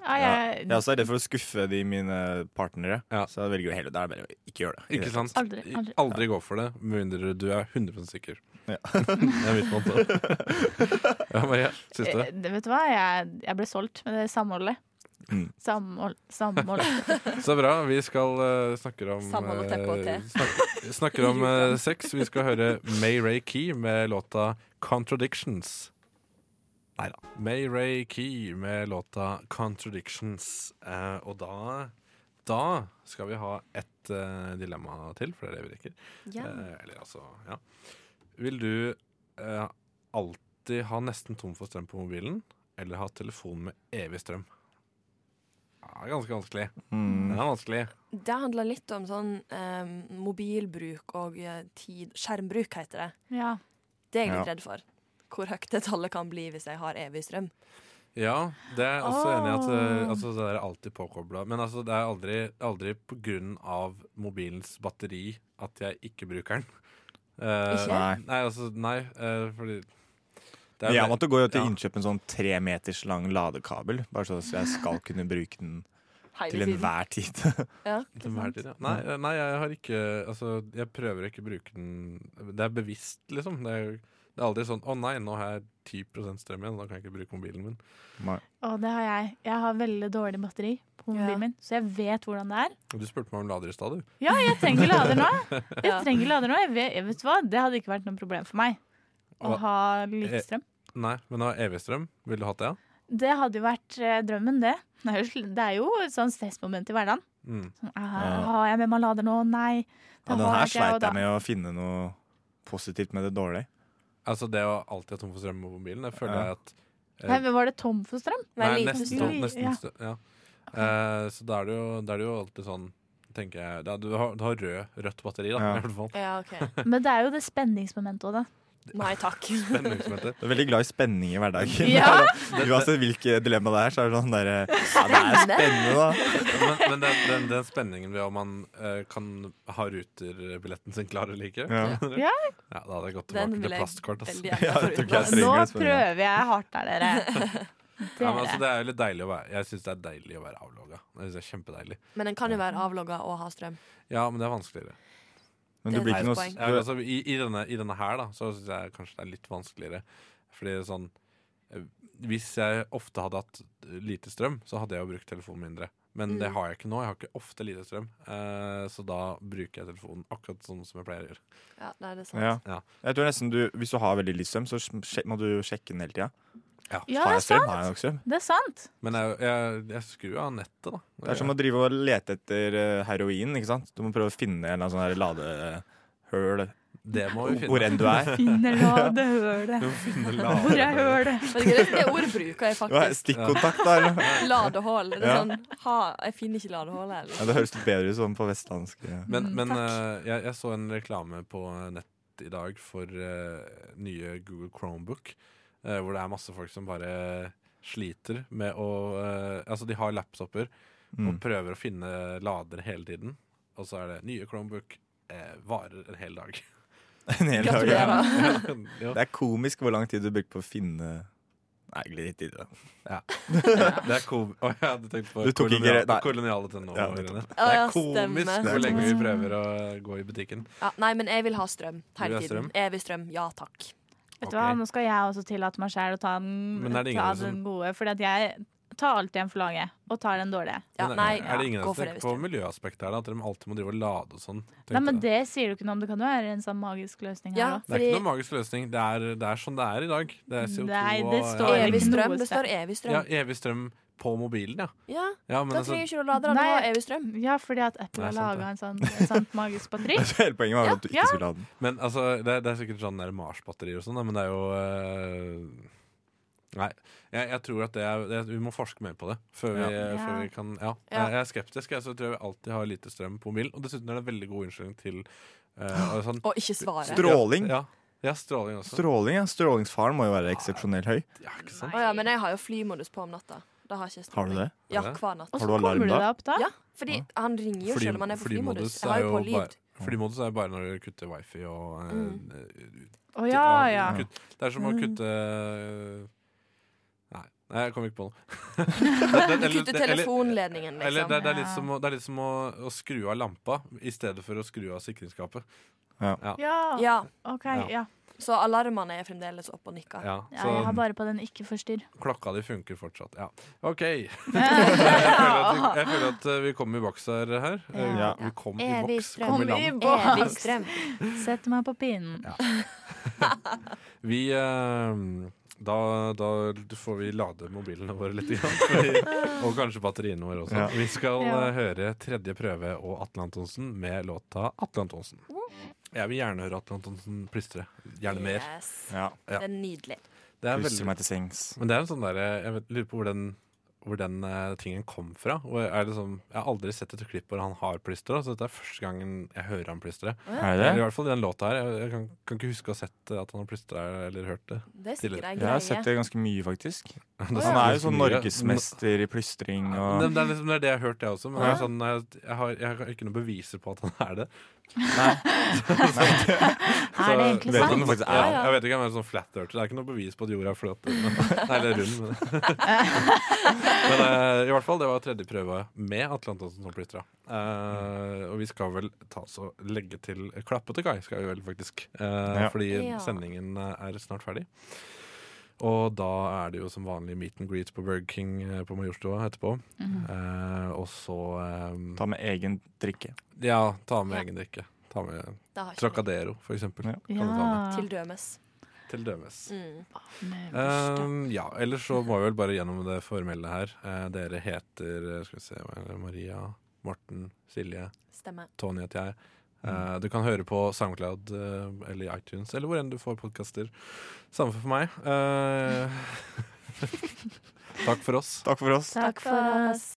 E: Ja, jeg,
D: Jeg er også redd for å skuffe de mine partnere,
C: Ja.
D: så jeg velger jo heller det. er bare å Ikke gjør det.
C: Ikke
D: (laughs)
C: sant?
E: Aldri, aldri.
C: gå for det, med mindre du er 100 sikker.
D: Ja.
C: det er mitt måte. Ja, men jeg syns det.
E: Eh, det- vet du hva, jeg, jeg ble solgt med det samholdet.
D: Mm.
E: Samhold, samhold.
C: (laughs) Så bra. Vi skal eh, snakker om
F: Samhold og teppe og te.
C: eh, snak, Snakker
F: (laughs)
C: om eh, sex. Vi skal høre May Ray Key med låta 'Contradictions'. Nei da. May Ray Key med låta 'Contradictions'. Eh, og da Da skal vi ha ett eh, dilemma til, for det er det vi rekker.
F: Ja.
C: Eh, eller altså, ja. Vil du eh, alltid ha nesten tom for strøm på mobilen, eller ha telefon med evig strøm? Ja, ganske vanskelig. Den
D: Mm.
C: er vanskelig.
F: Det handler litt om sånn eh, mobilbruk og eh, tid Skjermbruk, heter det.
E: Ja.
F: Det er jeg litt redd for. Hvor høyt det tallet kan bli hvis jeg har evig strøm.
C: Ja, det er jeg også enig i at eh,
E: Åh.
C: altså, det er alltid påkobla. Men altså, det er aldri, aldri på grunn av mobilens batteri at jeg ikke bruker den. Eh,
F: Ikke?
D: Nei.
C: Nei, altså, nei, eh, fordi det er
D: Jeg måtte gå til
C: Ja.
D: innkjøp en sånn tre meters lang ladekabel, bare så jeg skal kunne bruke den
F: Hele
D: til
F: tiden.
D: enhver tid. (laughs)
F: Ja.
C: Til hver tid, ja. Nei, eh, nei, jeg har ikke Altså, jeg prøver ikke å bruke den Det er bevisst, liksom. Det er, det er aldri sånn 'Å nei, nå har jeg 10 strøm igjen, da kan jeg ikke bruke mobilen min'.
E: Og det har jeg. Jeg har veldig dårlig batteri på mobilen
F: Ja.
E: min, så jeg vet hvordan det er.
C: Du spurte meg om lader i stad, du.
E: Ja, jeg trenger lader
D: (laughs)
E: nå. Jeg
F: Ja.
E: trenger lader nå. Jeg vet, jeg vet hva, det hadde ikke vært noe problem for meg å
C: Hva-
E: ha
D: Eh.
E: litt strøm.
C: Nei, men å ha evig strøm, ville du hatt det, ja?
E: Det hadde jo vært eh, drømmen, det. Det er jo sl- det er jo et sånn stressmoment i hverdagen.
C: Mm.
E: Sånn, ah, Har jeg med meg lader nå? Nei.
D: Ja, den
E: har
D: her
E: ikke jeg,
D: sleit
E: og da-
D: jeg med å finne noe positivt med det dårlige.
C: Altså, det å alltid ha tom for strøm på mobilen, det føler
D: Ja.
C: jeg at
E: Nei, men var det tom for
D: (laughs)
E: strøm?
F: Med en
C: Nei,
F: liten
C: nesten
E: strøm.
F: stund.
C: tom. Nesten
E: Ja.
C: stø- ja. Eh, så da er, det jo, da er det jo alltid sånn, tenker jeg da, du, har, du har rød, rødt batteri, da,
D: Ja.
C: i hvert fall.
F: Ja, ok. (laughs)
E: Men det er jo det spenningsmomentet òg, da.
F: Nei takk.
C: Spenningsmøte.
D: Du er veldig glad i spenning i
E: (laughs)
D: hverdagen.
F: Ja.
D: (laughs) Uansett hvilket dilemma det er, så er det sånn der Ja, det er spennende, da.
C: Men, men den, den, den spenningen ved om man eh, kan ha ruterbilletten sin klar eller ikke
D: Ja.
E: Ja.
C: Ja, Da hadde jeg gått
F: Den
C: tilbake
F: vil
C: til
F: jeg
C: plastkort. ass. (laughs)
F: (laughs) veldig gjerne Ja, det tok jeg foruten.
E: Nå
C: trenger det, spenningen.
E: prøver jeg hardt her,
D: (laughs)
E: dere.
C: Ja, men altså,
E: Dere.
C: det er jo litt deilig å være Jeg syns det er deilig å være avlogga. Det synes jeg er kjempedeilig.
F: Men en kan jo være avlogga og ha strøm.
C: Ja, men det er vanskeligere.
D: Men du
F: Det
D: blir
F: er
D: ikke
F: et
D: noe
F: poeng.
C: Ja, altså, i, i, denne, I denne her, da, så syns jeg kanskje det er litt vanskeligere. Fordi sånn eh, Hvis jeg ofte hadde hatt lite strøm, så hadde jeg jo brukt telefonen mindre. Men det
F: Mm.
C: har jeg ikke nå. Jeg har ikke ofte lite strøm. Eh, så da bruker jeg telefonen akkurat sånn som jeg pleier å gjøre.
F: Ja, nei, det er sant.
D: Ja.
C: Ja.
D: Jeg tror nesten du, Hvis du har veldig lyst strøm, så sj- må du sjekke den hele tida.
E: Ja,
D: Har
E: det
D: jeg
E: er
D: strøm?
E: sant.
D: Har jeg nok strøm?
E: Det er sant.
C: Men jeg, jeg, jeg skrur av nettet, da.
D: Det er som å drive og lete etter eh, heroin. ikke sant? Du må prøve å finne en eller annen sånn her ladehøl eh,
C: det må vi finne.
D: hvor enn du
C: (laughs)
E: (laughs)
D: er. (laughs)
E: Finner ladehølet. Hvor er hølet?
F: Vet ikke, Det det ordet
C: (laughs)
F: bruker jeg
D: Hva er
F: faktisk.
D: Stikkontakt, da? eller?
F: Ladehull. Det er
D: Ja.
F: sånn, ha, jeg finner ikke ladehullet.
D: Ja,
F: eller?
D: det høres litt bedre ut sånn på vestlandsk. Ja.
C: Men,
F: Mm,
C: men
F: takk.
C: eh, jeg, jeg så en reklame på nett i dag for eh, nye Google Chromebook, eh, hvor det er masse folk som bare sliter med å eh, Altså, de har laptoper og
D: Mm. (laughs)
C: prøver å finne lader hele tiden, og så er det nye Chromebook. eh, varer en hel dag.
D: En hel dag. Ja.
F: Gratulerer.
E: (laughs)
C: Jo,
D: Det er komisk hvor lang tid du brukte på å finne Nei, egentlig litt tid, da. (laughs)
C: det er kom... Å ja, du tenkte på
D: Du tok ikke
C: kolonial-
D: re- nei.
C: koloniale til nå.
D: Ja,
C: Irene.
D: nettopp.
C: det
F: Ja,
C: er komisk
F: stemmer.
C: hvor lenge vi prøver å gå i butikken.
F: Ja, nei, men jeg vil ha strøm
C: Du
F: hele
C: vil ha
F: tiden.
C: strøm?
F: Evig strøm. Ja takk.
E: Vet du hva,
C: Ok.
E: Nå skal jeg også tillate meg sjæl å ta den,
C: Men er det
E: ta
C: ingen som-
E: den gode. Fordi at jeg tar alltid en for laget, og tar den dårlige.
F: Ja,
C: Men er-
F: nei,
C: er det ingen
F: ja,
C: som
F: gå for
C: tenker
F: evig
C: på
F: strøm.
C: miljøaspektet her? da? At de alltid må drive og lade og sånn? tenkte
E: Nei, men
C: jeg.
E: Det sier du ikke noe om. Det kan jo være en sånn magisk løsning
F: Ja,
E: her òg.
C: Det er ikke
F: fordi
C: noen magisk løsning. Det er, det er sånn det er i dag. Det er CO2
E: Nei, det
C: og-
E: står
C: ja,
F: evig
E: ikke
F: strøm.
E: noe
F: Det
E: sted.
F: står evig
C: ja,
F: strøm.
C: evig strøm på mobilen, ja.
F: Ja,
C: ja men
F: da
C: altså,
F: trenger du ikke å lade den. Du
E: Nei.
F: har evig strøm.
E: Ja, fordi at Apple
C: Nei,
E: har
C: sant
E: laga en sånn, en
C: (laughs)
E: sånn magisk batteri.
D: Så (laughs) hele poenget var jo at du
E: Ja.
D: ikke skulle ha den.
C: men, altså det, er- det er sikkert sånn der Mars-batterier og sånn, da, men det er jo eh, Nei. Jeg, jeg tror at det er det, Vi må forske mer på det før vi,
E: Ja.
C: Før vi kan Ja.
F: Ja.
C: Jeg er skeptisk, jeg, så jeg tror jeg alltid har lite strøm på mobilen. Og dessuten er det en veldig god unnskyldning til eh, og
F: (gasps)
C: sånn,
F: Og ikke svare.
D: Strå- Stråling.
C: Ja, ja, stråling også.
D: Stråling, ja. Strålingsfaren må jo være eksepsjonelt høy.
C: ja, ikke sant?
F: Å ja, men jeg har jo flymodus på om natta. Da har ikke jeg
D: Har du det?
F: Ja,
C: Har du det?
F: hver natt.
E: Og
D: Har
E: så
D: du alarm
E: kommer du
D: da?
E: deg opp da.
F: Ja, fordi han ringer jo
C: Fly-
F: selv om han er på flymodus.
C: flymodus
F: Jeg har jo på
C: bare-
F: lyd.
C: Flymodus er jo bare når du kutter wifi og eh,
E: Mm. Å ja, ja. Mm.
C: Kutt, det er som å kutte eh, Nei, nei jeg kom ikke på noe. (laughs)
F: Du kutter telefonledningen,
C: Eller det,
F: liksom.
C: er- det er litt som, å, det er litt som å, å skru av lampa i stedet for å skru av sikringsskapet.
E: Ja,
F: Ja,
E: OK.
C: Ja.
E: Ja.
F: så alarmene er fremdeles oppe og nikker.
C: Ja,
E: ja. Jeg
C: så
E: har bare på den ikke
C: (laughs)
E: forstyrr. (laughs)
C: klokka di funker fortsatt. Ja, OK. (laughs) Jeg føler at, vi- jeg føler at eh, vi kom i boks her. her. Eh,
D: Ja.
C: Vi kom i
H: Evig
C: boks.
H: strøm.
C: Kom i
E: Kom i
C: land.
E: boks!
F: Evig strøm.
E: Sett meg på pinnen.
C: Vi eh, da, da får vi lade mobilene våre litt. Grann, fordi, og kanskje batteriene våre også.
D: Ja.
C: Vi skal
E: Ja.
C: eh, høre tredje prøve og Atle Antonsen med låta Atle Antonsen. Jeg vil gjerne høre Atle Antonsen plystre. Gjerne mer.
F: Yes.
D: Ja.
C: Ja.
F: Det er nydelig.
C: Det er
D: Pusser
C: veldig,
D: meg til sengs.
C: men det er en sånn derre Jeg vet, lurer på hvor den, hvor den eh, tingen kom fra. Og jeg, er liksom, jeg har aldri sett et klipp hvor han har plystra, så dette er første gangen jeg hører han plystre.
D: Er det
C: Eller i
D: det?
C: hvert fall i den låta her. Jeg, jeg kan, kan ikke huske å ha sett eh, at han har plystra eller hørt det.
F: Det er sikkert ei
D: Jeg har sett
F: greie.
D: det ganske mye, faktisk.
C: Det
D: Han er jo sånn
C: mye.
D: norgesmester i plystring
C: Ja,
D: og
C: men Det, er liksom, det er det jeg har hørt, jeg også. Men det er sånn, jeg, jeg, har, jeg har ikke noe beviser på at han er det.
E: Er det egentlig
D: Vet du om
E: sant?
D: det faktisk
C: Ja,
D: er
C: jeg vet ikke om jeg er sånn flat earther. Det er ikke noe bevis på at jorda er flat. Men, (laughs) nei, eller rund. Men,
E: (laughs)
C: men eh, i hvert fall, det var tredje prøve med Atle Antonsen som plystra. Eh, og vi skal vel ta oss og legge til klappe til Kai, skal vi vel faktisk. Eh, Fordi
F: Ja.
C: sendingen eh, er snart ferdig. Og da er det jo som vanlig meet and greet på Burger King eh, på Majorstua etterpå.
E: Mhm. Mm.
C: Eh, og så eh,
D: Ta med egen drikke.
C: Ja, ta med egen drikke. Ta med
F: Det har ikke
C: Trocadero, for eksempel.
D: Ja.
C: Kan du ta Ehm, med.
E: Ja.
F: Til dømes.
C: Til dømes.
F: Mm.
C: Um, ja, ellers så må vi vel bare gjennom det formelle her. Eh, dere heter eh, skal vi se, hva er det, Maria, Morten, Silje,
F: Stemmer.
C: Tony heter jeg. Eh, du kan høre på SoundCloud eh, eller i iTunes eller hvor enn du får podkaster. Samme for meg. Eh, (laughs) takk for oss.
D: Takk for oss.
E: Takk for oss.